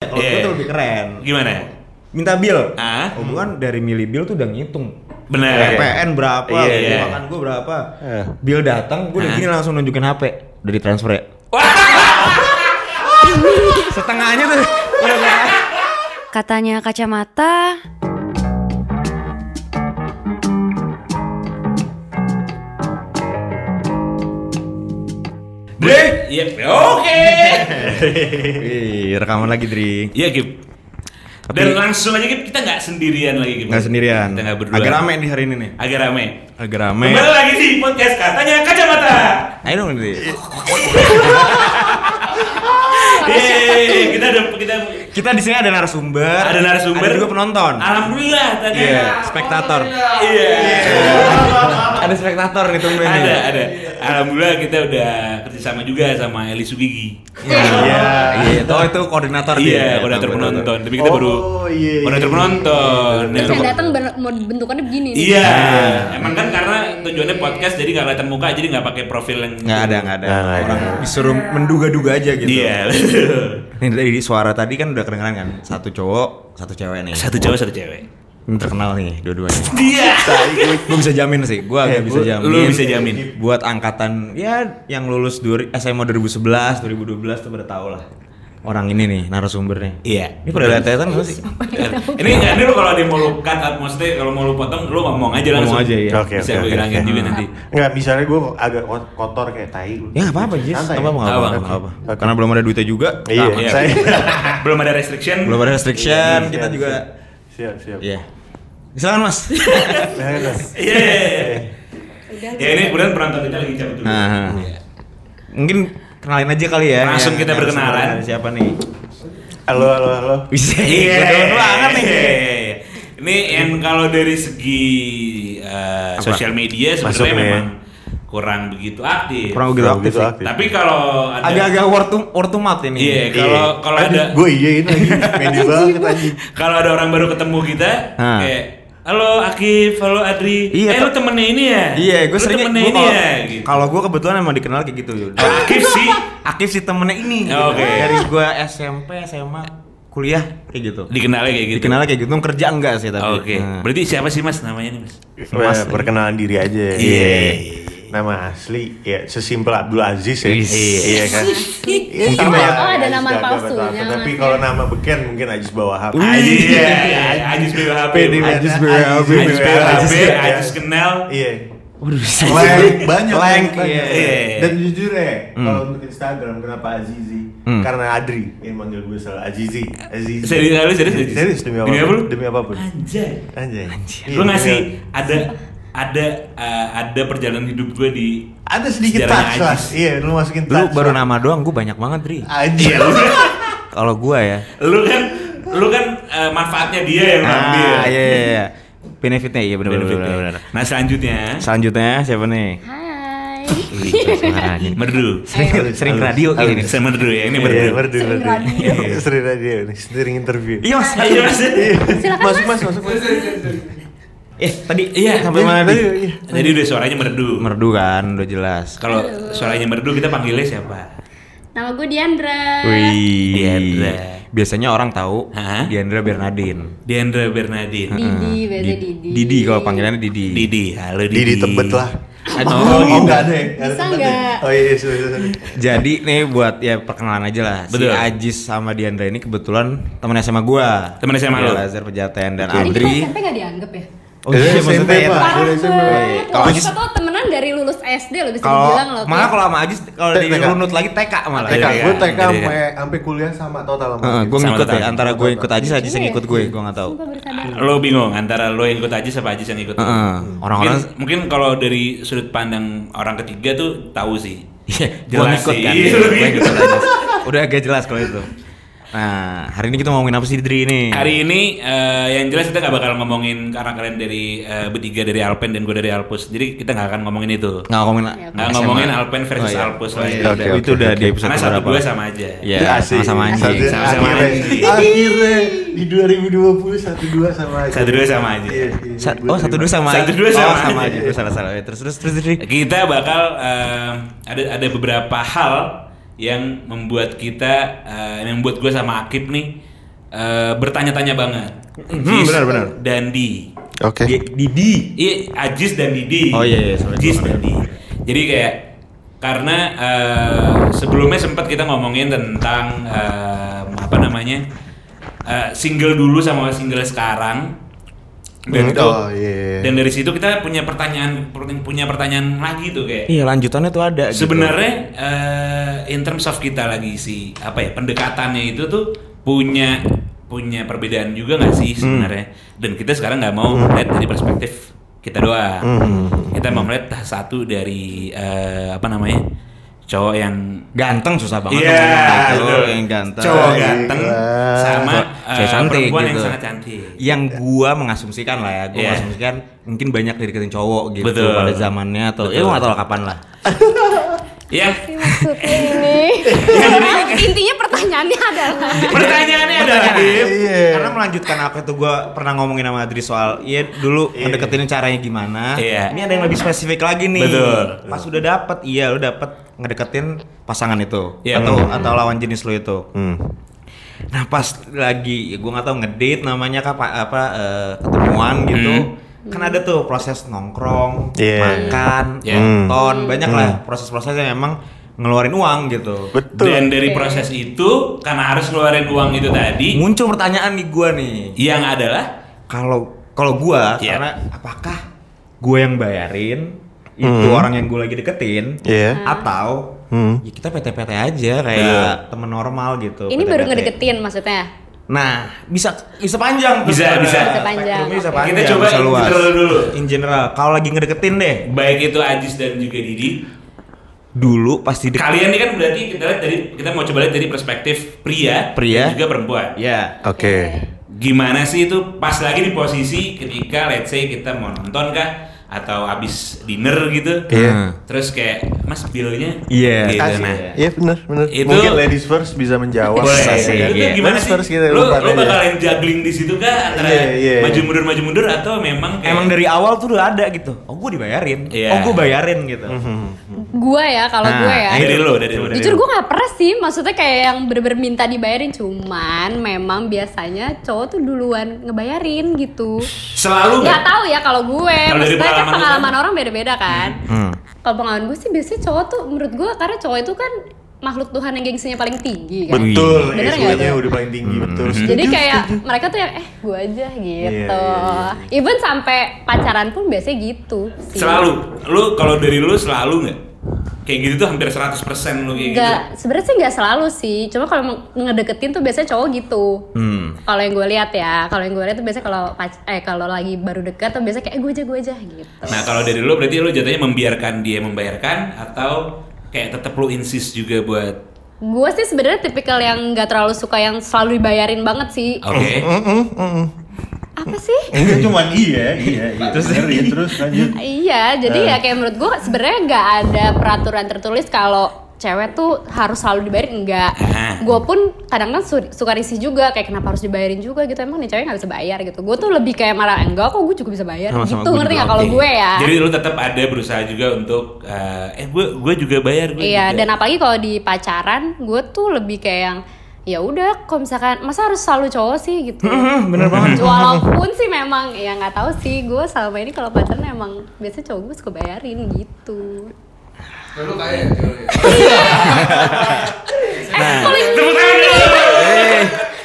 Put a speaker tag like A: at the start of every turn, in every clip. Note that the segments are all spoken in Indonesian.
A: menurut
B: Iya.
A: gue tuh lebih keren.
B: Gimana?
A: Minta bill.
B: Ah.
A: Oh, bukan dari milih bill tuh udah ngitung.
B: Bener.
A: PPN berapa,
C: Iya,
A: beli
B: iya.
A: makan gue berapa.
C: Eh.
A: Bill datang, gue udah
B: Ah.
A: gini langsung nunjukin HP. Udah ditransfer ya. Setengahnya tuh.
D: Katanya kacamata,
B: Dri. Iya. Oke.
A: Ih, rekaman lagi Dri.
B: Iya Gib. Dan langsung aja Gib, kita nggak sendirian lagi Gib.
A: Nggak sendirian.
B: Kita nggak berdua.
A: Agak rame di hari ini nih.
B: Agak rame.
A: Agak rame.
B: Kembali lagi di podcast katanya kacamata.
A: Ayo dong Dri.
B: Yeay, kita ada kita
A: Kita di sini ada narasumber.
B: ada narasumber.
A: Ada juga penonton.
B: Alhamdulillah tadi.
A: Iya, spektator.
B: Iya.
A: ada spektator nih tumben. nih.
B: Ada, ada. Alhamdulillah kita udah kerjasama juga sama Eli Sugigi.
A: Iya, iya. Iya, toh itu koordinator dia.
B: Iya, koordinator penonton. Tapi kita baru
C: Oh, iya, iya,
B: koordinator
C: iya.
B: penonton.
E: Terus
B: Yang-
E: yang datang ben- mau bentukannya begini. nih.
B: Iya. Emang kan karena tujuannya podcast jadi nggak kelihatan muka jadi nggak pakai profil yang
A: Nggak ada, nggak ada.
C: Nggak ada.
A: Orang disuruh menduga-duga aja gitu.
B: Iya.
A: Nih dari suara tadi kan udah kedengeran kan? Satu cowok, satu cewek nih.
B: satu cowok satu cewek.
A: Ini terkenal nih dua-duanya.
B: Dia.
A: Iya. gue bisa jamin sih, gue agak bisa jamin.
B: Eh, Lu bisa jamin.
A: Buat angkatan ya yang lulus duri- SMA 2011, 2012 tuh pada tau lah. Orang ini nih narasumbernya.
B: Iya.
A: Ini pada lihat-lihatan nggak sih? Kan.
B: Ini nggak ini lu kalau dia mau lu cut up, maksudnya kalau mau lu potong lu ngomong aja langsung.
A: Ngomong aja, iya.
C: Oke,
B: Bisa
C: oke,
B: gue
C: oke,
B: hilangin
C: oke.
B: juga nanti.
C: Enggak, misalnya gue agak kot- kotor kayak tai.
A: Ya nggak apa-apa Jis,
C: Santai.
A: nggak apa-apa, nggak
B: Nggak
A: apa-apa,
B: apa-apa.
A: nggak apa-apa. Karena belum ada duitnya juga.
C: Iya,
B: Iya.
C: saya.
B: Belum ada restriction.
A: Belum ada restriction,
C: Siap,
A: kita
C: Iya, siap,
A: juga.
C: Siap, siap. Nah,
A: Iya. Silakan mas.
C: Silakan, Mas.
B: Iya.
E: Udah,
B: Ya ini kemudian penonton kita lagi cabut dulu. Iya.
A: Nah, mungkin kenalin aja kali ya.
B: Langsung
A: yang-
B: kita
A: yang
B: berkenalan.
A: sebenarnya Siapa nih?
C: Halo, halo, halo.
A: Bisa.
B: Iya,
A: Kedoan banget nih.
B: Iya. Ini yang kalau dari segi eh,
A: Apa? ya.
B: sosial media sebenarnya
C: Masuknya.
B: memang kurang begitu aktif.
A: Kurang begitu
C: Kurang
A: Oh, gitu aktif.
C: begitu
A: sih.
C: gitu aktif.
B: Tapi kalau ada
A: Agak-agak word to word to mouth ini.
B: Iya, kalau
C: Eh,
B: kalau ada
C: Gue iyain iya lagi. Pede banget anjing.
B: kalau ada orang baru ketemu kita
A: Hah.
B: kayak Halo Akif, halo Adri.
A: Iya,
B: eh
A: ta-
B: lu temennya ini ya?
A: Iya, gue
B: Lu
A: seringnya
B: temennya
A: gua
B: ini
A: kalau-
B: ya. Gitu.
A: Kalau gue kebetulan emang dikenal kayak gitu. Yud.
B: Kalau Akif sih
A: Aktif si temennya ini. gitu.
B: Oke.
A: Dari gue SMP, SMA, kuliah kayak gitu.
B: dikenalnya kayak gitu.
A: Dikenalnya kayak gitu, kerja enggak sih tapi.
B: Oke.
A: Nah.
B: Berarti siapa sih Mas namanya nih, Mas?
C: Mas, perkenalan diri aja.
B: Iya.
C: Nama asli ya sesimpel Abdul Aziz ya.
B: Is.
C: Iya kan.
E: Ih,
C: Mungkin
E: oh,
C: banyak-
E: ada nama
C: Aziz Abdul
E: palsunya,
C: Aziz Abdul. Tapi
E: Mas.
C: kalau nama beken mungkin Aziz Bawahab.
A: Wih.
B: Ajis.
C: Iya.
B: Iya, Ajis BWHP.
A: Ajis BWHB.
B: Ajis BWHB,
C: Iya.
B: Ajis kenal.
C: Iya.
A: Waduh,
C: Blank, banyak
A: Blank,
C: banyak.
A: iya.
C: Dan jujur ya,
B: Hmm.
C: kalau untuk Instagram kenapa Azizi? Karena Adri yang manggil gue selalu Azizi. Azizi.
B: Serius, serius, serius. Ajis?
C: Serius demi apapun.
B: Demi apa lu?
C: Demi
A: Iya.
C: apapun.
B: Anjay.
C: Anjay. Iya,
B: Lu
C: demi
B: ngasih ada ada eh, ada perjalanan hidup gue di
C: ada sedikit
B: Sejarahnya
C: touch lah.
B: Aziz.
C: Iya, lu masukin
A: Lu
C: touch.
A: baru
C: lah. Iya,
A: nama doang, gue banyak banget, Dri.
B: Iya,
C: Anjay.
A: Kalau gue ya.
B: lu kan lu kan eh, manfaatnya dia yang ngambil.
A: Ah, iya, iya, iya. Benefitnya, iya benar-benar.
B: Benefitnya. Nah, selanjutnya
A: Selanjutnya siapa nih?
E: Hai.
A: Suaranya.
B: merdu.
A: sering
C: Halus,
A: sering
C: halus,
A: radio kayak gini.
C: halus.
B: Saya merdu ya, ini merdu.
C: Iya, merdu,
E: Sering
C: merdu.
E: radio.
C: Iya, Sering radio, nih, sering interview.
A: Iya mas,
B: Iya, Mas.
E: Silakan,
C: masuk,
E: Mas.
C: masuk, masuk, masuk.
A: Eh tadi
B: Iya.
A: sampai mana
C: Tadi,
A: tadi?
C: iya.
B: Jadi udah suaranya merdu.
A: Merdu kan, udah jelas.
B: Kalau suaranya merdu kita panggilnya siapa?
E: Nama gue Diandra.
A: Wih,
B: Diandra.
A: Biasanya orang tahu
B: Hah?
A: Diandra Bernadine.
B: Diandra Bernadine.
E: Didi, biasa
A: Di-
E: Didi.
A: Hmm, Didi kalau panggilannya Didi.
B: Didi, halo Didi.
C: Didi tebet lah.
A: Aduh,
C: Oh,
A: gitu.
C: nggak ada ya? Nggak ada
E: Bisa
C: tempatnya.
E: nggak?
C: Oh iya, iya, sorry, sorry.
A: Jadi nih buat ya perkenalan aja lah.
B: Betul.
A: Si Ajis sama Diandra ini kebetulan teman SMA gua.
B: Teman SMA lu?
A: Iya, Lazar Pejaten dan
E: Jadi kita
A: Andri.
E: SMP nggak dianggap ya?
A: Oh iya,
C: SMP,
A: maksudnya ya,
C: Pak.
A: Pak.
E: Parah
C: dari SMP.
E: banget.
A: Kalau
E: Kalau
A: Ajis-
E: kita tuh temenan dari lulus SD loh bisa
A: Kalau
E: dibilang loh.
A: malah
E: Ki.
A: kalau sama Ajis kalau
C: TK.
A: dirunut lagi TK malah.
C: TK,
B: Iya, iya.
C: gue TK
B: Iya, iya.
C: sampai sampai kuliah sama total sama.
A: Heeh, gue
B: Sama
A: ngikut ya
B: tetangga.
A: antara gue ikut Ajis Ajis yang
E: Iya.
A: ikut gue, gue nggak tahu.
E: Sumpah bersabar.
B: Lo bingung antara lo yang ikut Ajis apa Ajis yang ikut? lo?
A: Heeh, orang-orang
B: mungkin, mungkin kalau dari sudut pandang orang ketiga tuh tahu sih.
A: Iya, gue
B: Jelas
A: ngikut
B: sih.
A: kan.
B: Iya,
A: Gue
B: lu
A: ngikut
B: ngikut.
A: Ajis. Udah agak jelas kalau itu. Nah, hari ini kita mau ngomongin apa sih Dri ini?
B: Hari ini eh, yang jelas kita nggak bakal ngomongin karena kalian dari eh, bertiga dari Alpen dan gue dari Alpus, jadi kita nggak akan ngomongin itu.
A: nggak ngomongin
E: Iya,
A: Oh, iya.
B: Nggak ngomongin Alpen versus Alpus lah. ya.
A: Itu
B: Itu
A: udah,
C: udah-
A: itu udah di episode
B: Karena satu
A: berapa?
B: gue sama aja.
A: Iya,
C: Itu asik.
A: sama-sama anjing.
C: Satu-
B: Sama-sama
C: akhirnya,
B: anjing.
C: Akhirnya di 2020 satu dua sama aja.
B: Satu dua sama aja.
C: Iya, iya.
A: Sa- oh, satu dua sama
B: Satu dua
A: Oh,
B: sama
A: sama aja.
B: aja.
A: Gue salah-salah. Terus terus terus Dri.
B: Kita bakal eh, ada ada beberapa hal yang membuat kita eh, yang membuat gue sama Akib nih eh, bertanya-tanya banget.
A: Mhm, benar, benar.
B: Dandi.
D: Oke.
A: Di- Didi.
B: Iya, Ajis dan Didi.
A: Oh, iya, iya, sorry.
B: Ajis dan Didi. Jadi kayak karena eh, sebelumnya sempat kita ngomongin tentang eh, apa namanya eh, single dulu sama single sekarang.
D: Hmm,
B: Dan itu-
D: oh, iya.
B: dan dari situ kita punya pertanyaan punya pertanyaan lagi tuh kayak
A: Iya lanjutannya tuh ada. gitu.
B: Sebenarnya eh, in terms of kita lagi si apa ya pendekatannya itu tuh punya punya perbedaan juga nggak sih
A: Hmm.
B: sebenarnya? Dan kita sekarang nggak mau melihat dari perspektif kita doang.
A: Hmm.
B: Kita mau melihat satu dari eh, apa namanya cowok yang
A: ganteng susah banget.
B: Iya,
A: ngomongin gitu,
B: betul.
A: yang ganteng.
B: cowok kan? ganteng sama
A: Cewek
B: eh,
A: cantik
B: perempuan yang
A: gitu.
B: sangat cantik.
A: Yang gua mengasumsikan lah ya, gua
B: Iya.
A: mengasumsikan mungkin banyak dari deketin cowok gitu
B: Betul.
A: pada zamannya atau ya gua nggak tahu lah kapan lah.
B: Ya,
E: Maksudnya ini. Intinya pertanyaannya adalah
A: Iya,
B: Iya. pertanyaannya adalah Dip,
D: Iya.
A: Karena melanjutkan apa tuh gua pernah ngomongin sama Adri soal iya dulu ngedeketin caranya gimana.
B: Iya.
A: Ini ada yang lebih spesifik lagi nih.
B: Betul.
A: Pas udah dapet, iya lu dapet ngedeketin pasangan itu
B: Iya.
A: atau atau lawan jenis lu itu.
D: Hmm.
A: Nah pas lagi, ya gue nggak tahu ngedate namanya apa, apa eh, ketemuan gitu,
E: Hmm.
A: kan ada tuh proses nongkrong,
D: Iya.
A: makan,
B: Iya.
A: nonton,
E: Hmm.
A: banyak lah proses-proses yang emang ngeluarin uang gitu.
D: Betul.
B: Dan dari proses itu karena harus ngeluarin uang itu tadi
A: Muncul pertanyaan di gue nih,
B: yang adalah
A: kalau kalau gue,
B: Iya.
A: karena apakah gue yang bayarin itu orang yang gue lagi deketin,
D: Iya.
A: atau
D: Hmm.
A: ya kita PT-PT aja kayak temen normal gitu.
E: ini baru
A: PT-PT.
E: ngedeketin maksudnya.
A: Nah, bisa bisa panjang. tuh
B: Bisa,
A: sebenarnya.
B: bisa.
E: Bisa panjang.
A: Spektrumnya Bisa
E: Oke.
A: panjang.
B: Kita coba
A: bisa
B: in
A: luas.
B: general dulu.
A: In general, kalau lagi ngedeketin deh.
B: baik itu Ajis dan juga Didi.
A: Dulu pasti deketin.
B: Kalian ini kan berarti kita lihat dari kita mau coba lihat dari perspektif pria,
A: Pria.
B: dan juga perempuan.
A: Ya.
D: Oke.
B: Gimana sih itu pas lagi di posisi ketika let's say kita mau nonton kah atau abis dinner gitu.
D: Iya.
A: Hmm.
B: Terus kayak Mas billnya
A: Iya.
B: gitu,
D: Asik.
B: nah.
D: Iya benar benar.
B: Itu
C: Mungkin ladies first bisa menjawab.
B: Boleh.
A: Bisa sih,
B: Itu
A: iya.
B: gimana
D: Harus-
B: sih?
D: harus kita
B: lu,
D: lempar
B: lu
C: ya.
D: aja.
B: bakalan juggling di situ kah antara
D: Iya, iya.
B: maju mundur maju mundur atau memang kayak
A: Emang dari awal tuh udah ada gitu. Oh, gue dibayarin.
B: Iya.
A: Oh, gue bayarin gitu.
C: Mhm.
E: Gua ya kalau
A: Nah,
E: gue ya.
A: ayo.
B: dari lu dari lu.
E: Jujur gue gak pernah sih, maksudnya kayak yang bener-bener minta dibayarin Cuman memang biasanya cowok tuh duluan ngebayarin gitu
B: Selalu
E: Gak
B: nggak?
E: tahu ya kalau gue,
B: Kalau dari
E: maksudnya kan
B: pengalaman lu
E: pengalaman
B: kan?
E: orang beda-beda kan
A: Hmm.
E: Kalau pengalaman gue sih biasanya cowok tuh, menurut gue karena cowok itu kan makhluk Tuhan yang gengsinya paling tinggi kan
C: Betul,
E: Bener nggak
C: ego-nya
E: tuh?
C: udah paling tinggi, betul.
E: Jadi kayak mereka tuh yang eh gue aja gitu
C: Iya, iya,
E: Even sampai pacaran pun biasanya gitu sih
B: Selalu. Lu kalau dari lu selalu nggak? Kayak gitu tuh hampir 100% lu kayak gitu.
E: Gak, sebenarnya sih gak selalu sih. Cuma kalau mau ngedeketin tuh biasanya cowok gitu.
A: Hmm.
E: Kalau yang gue lihat ya, kalau yang gue lihat tuh biasanya kalau pac- eh kalau lagi baru dekat tuh biasanya kayak eh, gue aja gue aja gitu.
B: Nah, kalau dari lu berarti lu jatuhnya membiarkan dia membayarkan atau kayak tetap lu insist juga buat
E: Gue sih sebenarnya tipikal yang gak terlalu suka yang selalu dibayarin banget sih.
B: oke.
E: Apa sih?
C: Enggak cuman iya, iya, iya. Terus iya, terus lanjut.
E: Iya, jadi ya kayak menurut gue sebenarnya nggak ada peraturan tertulis kalau cewek tuh harus selalu dibayarin enggak.
B: Ah.
E: Gue pun kadang-kadang su- suka risih juga kayak kenapa harus dibayarin juga gitu emang nih cewek nggak bisa bayar gitu. Gue tuh lebih kayak marah enggak kok gue juga bisa bayar
A: Sama-sama,
E: gitu
A: gua
E: ngerti
A: juga
E: nggak kalau
A: oke.
E: gue ya.
B: Jadi lu tetap ada berusaha juga untuk eh, eh gue gue juga bayar gue.
E: Iya,
B: juga.
E: dan apalagi kalau di pacaran gue tuh lebih kayak yang ya udah kalau misalkan masa harus selalu cowok sih gitu
A: hmm,
E: bener banget walaupun sih memang ya nggak tahu sih gue selama ini kalau pacaran emang biasanya cowok gue suka bayarin gitu
F: Lu kaya ya, cewek.
E: eh kalau yang
B: Nah. Tepuk tangan dulu.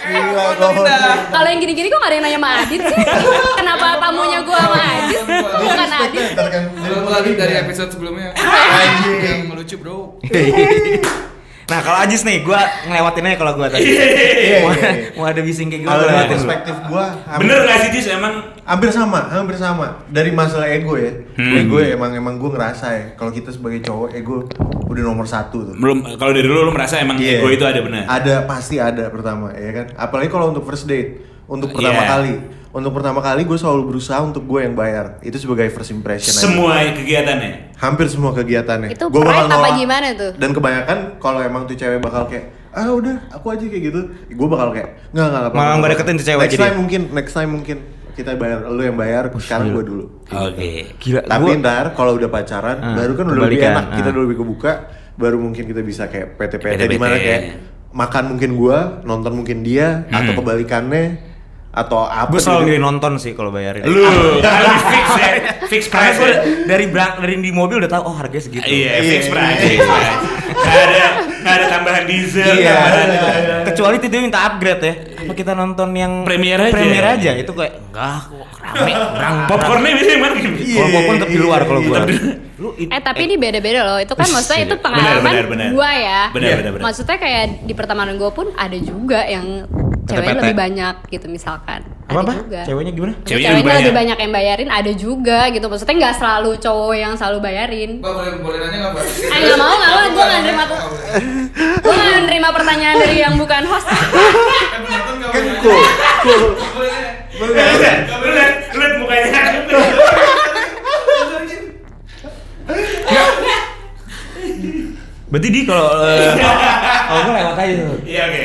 D: Gila gokil.
E: Kalau yang gini-gini kok gak ada yang nanya sama Adit sih? Kenapa tamunya gua sama Adit? Bukan Adit.
C: Ntar kan
F: Lu lagi dari episode sebelumnya.
C: Anjing.
F: Yang lucu, Bro.
A: Nah, kalau Ajis nih, gue ngelewatinnya kalau gue tadi. mau,
C: iya, iya.
A: mau ada bising kayak gitu
C: Kalau dari
A: ngelewatin dulu.
C: perspektif gua hampir-
B: Bener gak sih Jis emang
C: hampir sama, hampir sama. Dari masalah ego ya,
B: Hmm.
C: ego ya, emang emang gue ngerasa ya, kalau kita sebagai cowok ego udah nomor satu tuh.
B: belum kalau dari lu lu merasa emang
C: Iya.
B: ego itu ada benar.
C: Ada pasti ada pertama, ya kan. Apalagi kalau untuk first date, untuk pertama
B: Iya.
C: kali, untuk pertama kali gue selalu berusaha untuk gue yang bayar. Itu sebagai first impression. aja.
B: Semua kegiatannya.
C: Hampir semua kegiatannya.
E: Itu
C: Gua
E: pride
C: bakal
E: apa
C: nolak.
E: gimana tuh?
C: Dan kebanyakan kalau emang tuh cewek bakal kayak ah udah aku aja kayak gitu, gue bakal kayak nggak nggak nggak
A: Malah
C: apa-apa, nggak
A: nggak
C: apa-apa."
A: deketin tuh cewek
C: Next
A: jadi.
C: time mungkin, next time mungkin kita bayar, lu yang bayar, sekarang gue dulu.
B: Oke.
A: Gila,
C: Tapi
A: gua-
C: ntar kalau udah pacaran,
A: Ah,
C: baru kan udah lebih
A: kebalikan,
C: enak, kita
A: ah.
C: udah lebih kebuka, baru mungkin kita bisa kayak PT-PT
B: PT-PT.
C: di mana kayak makan mungkin gua, nonton mungkin dia, atau kebalikannya, atau apa?
A: Gue Hmm. selalu
C: gitu.
A: milih nonton sih kalau bayarin.
B: Lu kali fix ya, fix
A: Karena
B: price
A: gue
B: ya.
A: dari berang, dari di mobil udah tahu oh harganya segitu.
B: Iya, fix
C: Iya.
B: price. fix price. Nggak ada nggak ada tambahan diesel,
A: Iya.
B: tambahan apa.
A: Kecuali itu dia minta upgrade ya. Apa kita nonton yang
B: Premier aja.
A: Iya. Premier aja itu kayak enggak kok rame orang.
B: Popcornnya bisa yang mana?
C: Iya.
A: Kalau popcorn tetap di luar kalau gua.
B: Tetap di-
A: Lu it-
E: Eh tapi ini beda-beda loh. Itu kan maksudnya itu
B: Iya. Benar,
E: pengalaman
B: benar, benar.
E: gua ya.
B: Benar,
E: Iya.
B: benar, benar.
E: Maksudnya kayak di pertemanan gua pun ada juga yang ceweknya
A: Pete-pete.
E: lebih banyak gitu misalkan.
A: apa apa?
E: Ada juga.
A: Ceweknya gimana?
B: Ceweknya
E: Ceweknya,
B: lebih
E: lebih banyak yang bayarin ada juga gitu. Maksudnya nggak selalu cowok yang selalu bayarin.
F: Mbak boleh boleh nanya nggak Eh, mbak?
E: Ah nggak mau nggak mau. Gua nggak nerima tuh. Gua nggak nerima pertanyaan dari yang bukan host.
C: Kan cool, cool.
B: Lu lihat, lu lihat, lu lihat mukanya.
A: Berarti di kalau eh, kalau gua lewat aja. tuh.
B: Iya oke.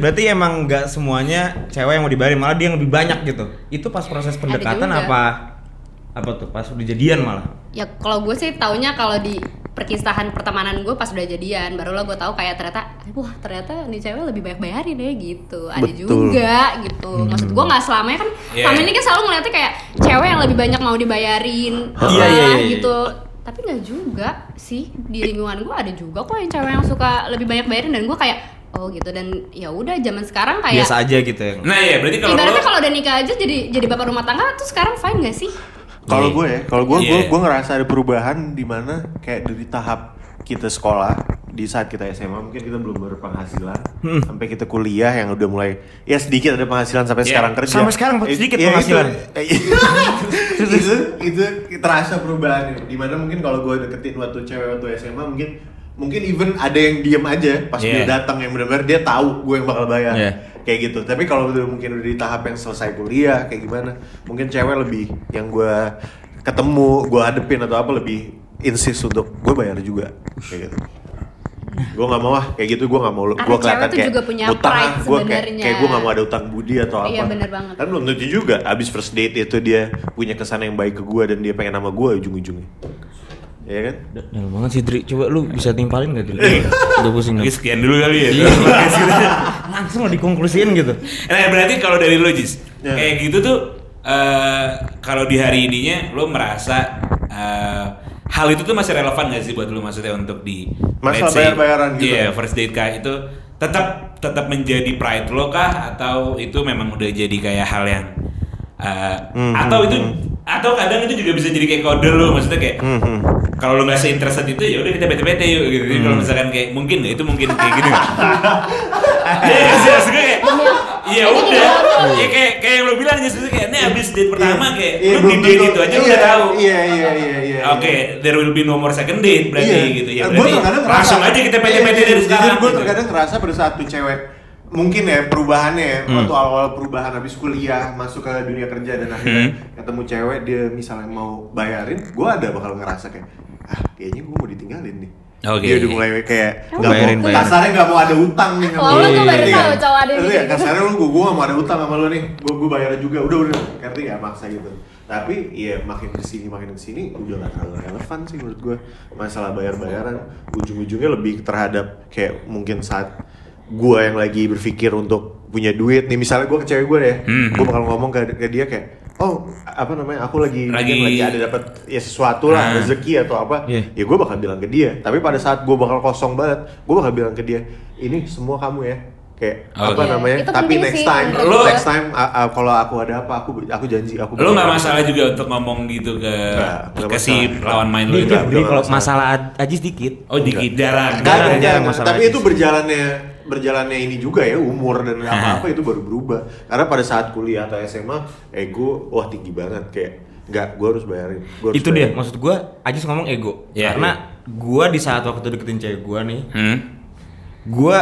A: Berarti emang nggak semuanya cewek yang mau dibayarin malah dia yang lebih banyak gitu. Itu pas proses pendekatan
E: juga.
A: apa apa tuh pas udah jadian malah.
E: ya kalau gue sih taunya kalau di perkisahan pertemanan gue pas udah jadian barulah gue tahu kayak ternyata wah ternyata nih cewek lebih banyak bayarin ya gitu ada
D: Betul.
E: juga gitu
A: Hmm.
E: maksud gue nggak selamanya kan
B: Iya.
E: selama ini kan selalu ngeliatnya kayak cewek yang lebih banyak mau dibayarin
A: Iya,
E: lah,
A: iya, iya, iya.
E: gitu tapi nggak juga sih di lingkungan gue ada juga kok yang cewek yang suka lebih banyak bayarin dan gue kayak oh gitu dan ya udah zaman sekarang kayak
A: Biasa aja gitu ya.
B: Nah iya berarti kalau
E: ibaratnya
B: lu-
E: kalau udah nikah aja jadi jadi bapak rumah tangga tuh sekarang fine gak sih
C: Kalau gue ya, kalau gue
B: Iya.
C: gue ngerasa ada perubahan di mana kayak dari tahap kita sekolah di saat kita SMA mungkin kita belum berpenghasilan
A: Hmm.
C: sampai kita kuliah yang udah mulai ya sedikit ada penghasilan sampai
B: Iya.
C: sekarang kerja
A: Sampai sekarang sedikit
C: iya,
A: penghasilan.
C: itu, itu itu terasa perubahan ya. di mana mungkin kalau gue deketin waktu cewek waktu SMA mungkin mungkin even ada yang diem aja pas
B: Iya.
C: dia datang yang benar-benar dia tahu gue yang bakal bayar
A: Iya.
C: kayak gitu tapi kalau udah mungkin udah di tahap yang selesai kuliah kayak gimana mungkin cewek lebih yang gua ketemu gua hadepin atau apa lebih insist untuk gue bayar juga kayak gitu gue nggak mau ah kayak gitu gue nggak mau lu
E: Karena
C: gue
E: cewek
C: kelihatan
E: tuh
C: kayak
E: juga punya
C: utang ah
E: pride
C: gue kayak
E: sebenarnya.
C: kayak gue nggak mau ada utang budi atau apa
E: Iya, bener banget.
C: kan belum tentu juga abis first date itu dia punya kesan yang baik ke gue dan dia pengen nama gue ujung-ujungnya Iya kan
A: Dalam banget sih Dri, coba lu bisa timpalin gak Dri? Udah pusing nih.
B: Oke, sekian dulu kali ya.
E: Iya.
A: Langsung lo dikonklusiin gitu.
B: Nah, berarti kalau dari lo Jis,
C: Ya.
B: kayak gitu tuh eh kalau di hari ininya lo merasa eh, hal itu tuh masih relevan gak sih buat lo maksudnya untuk di let's
C: Masalah
B: say,
C: bayar-bayaran gitu.
B: Iya, first date kah itu tetap tetap menjadi pride lo kah atau itu memang udah jadi kayak hal yang eh,
C: Hmm,
B: atau itu atau kadang itu juga bisa jadi kayak kode lo maksudnya kayak
C: Hmm,
B: kalau lo nggak seinterested itu ya udah kita bete-bete yuk gitu. Jadi
C: Hmm.
B: kalau misalkan kayak mungkin nggak itu mungkin kayak gitu. nggak? Iya nggak sih maksud gue kayak Iya udah Ya kayak kayak yang lo bilang aja sebenernya kayak Ini abis date pertama kayak
C: Iya,
B: Lu
C: belum
B: di date
C: tentu.
B: itu aja
C: Iya,
B: udah tahu
C: iya iya iya iya
B: Oke there will be no more second date berarti gitu ya
C: gue
B: berarti
C: Iya. terkadang ngerasa-
B: Langsung aja kita PT-PT
C: Iya,
B: dari
C: jujur,
B: sekarang
C: gue
B: gitu.
C: terkadang ngerasa pada saat tuh cewek mungkin ya perubahannya ya,
B: Hmm.
C: waktu awal-awal perubahan habis kuliah masuk ke dunia kerja dan akhirnya ketemu cewek dia misalnya mau bayarin gue ada bakal ngerasa kayak ah kayaknya gue mau ditinggalin nih
B: Oke.
C: Dia udah mulai kayak nggak
A: Bayarin,
C: mau,
A: bayarin.
C: kasarnya nggak mau ada utang nih sama
E: Wah, lu
C: gue.
E: tuh baru
C: Ngerti kan? Iya,
E: tahu
C: nggak?
E: cowok ada yang
C: Ngerti
E: kayak
C: nggak? Kasarnya lu gue gak mau ada utang sama lu nih, gue gue bayar juga, udah udah, ngerti nggak maksa gitu. Tapi ya makin kesini makin kesini udah gak terlalu relevan sih menurut gue masalah bayar bayaran ujung-ujungnya lebih terhadap kayak mungkin saat gue yang lagi berpikir untuk punya duit nih misalnya gue ke cewek gue deh,
B: Hmm.
C: gue bakal ngomong ke, ke dia kayak oh apa namanya aku lagi
B: Lagi-
C: mungkin lagi ada dapat ya sesuatu lah
B: Ah.
C: rezeki atau apa
A: Iya.
C: ya gue bakal bilang ke dia tapi pada saat gue bakal kosong banget gue bakal bilang ke dia ini semua kamu ya kayak
B: Oke.
C: apa
B: Iya,
C: namanya
E: itu
C: tapi
E: penting
C: next
E: sih,
C: time
E: menurut gua.
C: next time a- a- kalau aku ada apa aku aku janji aku
B: Lo gak
C: bakal-
B: masalah juga untuk ngomong gitu ke
C: Nggak, nggak
B: Ke si
C: masalah.
B: lawan main lo
A: Dikit
B: itu
A: Dri,
C: nggak
A: kalau
B: iya.
C: masalah.
A: masalah Aj- Ajis dikit.
B: Oh dikit jarang
A: Jarang,
C: Kadang,
A: jarang
C: jarang.
A: masalah
C: tapi
A: aja
C: itu
A: sih.
C: berjalannya berjalannya ini juga ya umur dan apa apa itu baru berubah karena pada saat kuliah atau SMA ego wah tinggi banget kayak nggak gue harus bayarin gua harus
A: Itu dia,
C: bayarin.
A: maksud gua Ajis ngomong ego.
B: Iya.
A: Karena gua di saat waktu deketin cewek gua nih,
B: Hmm
A: gua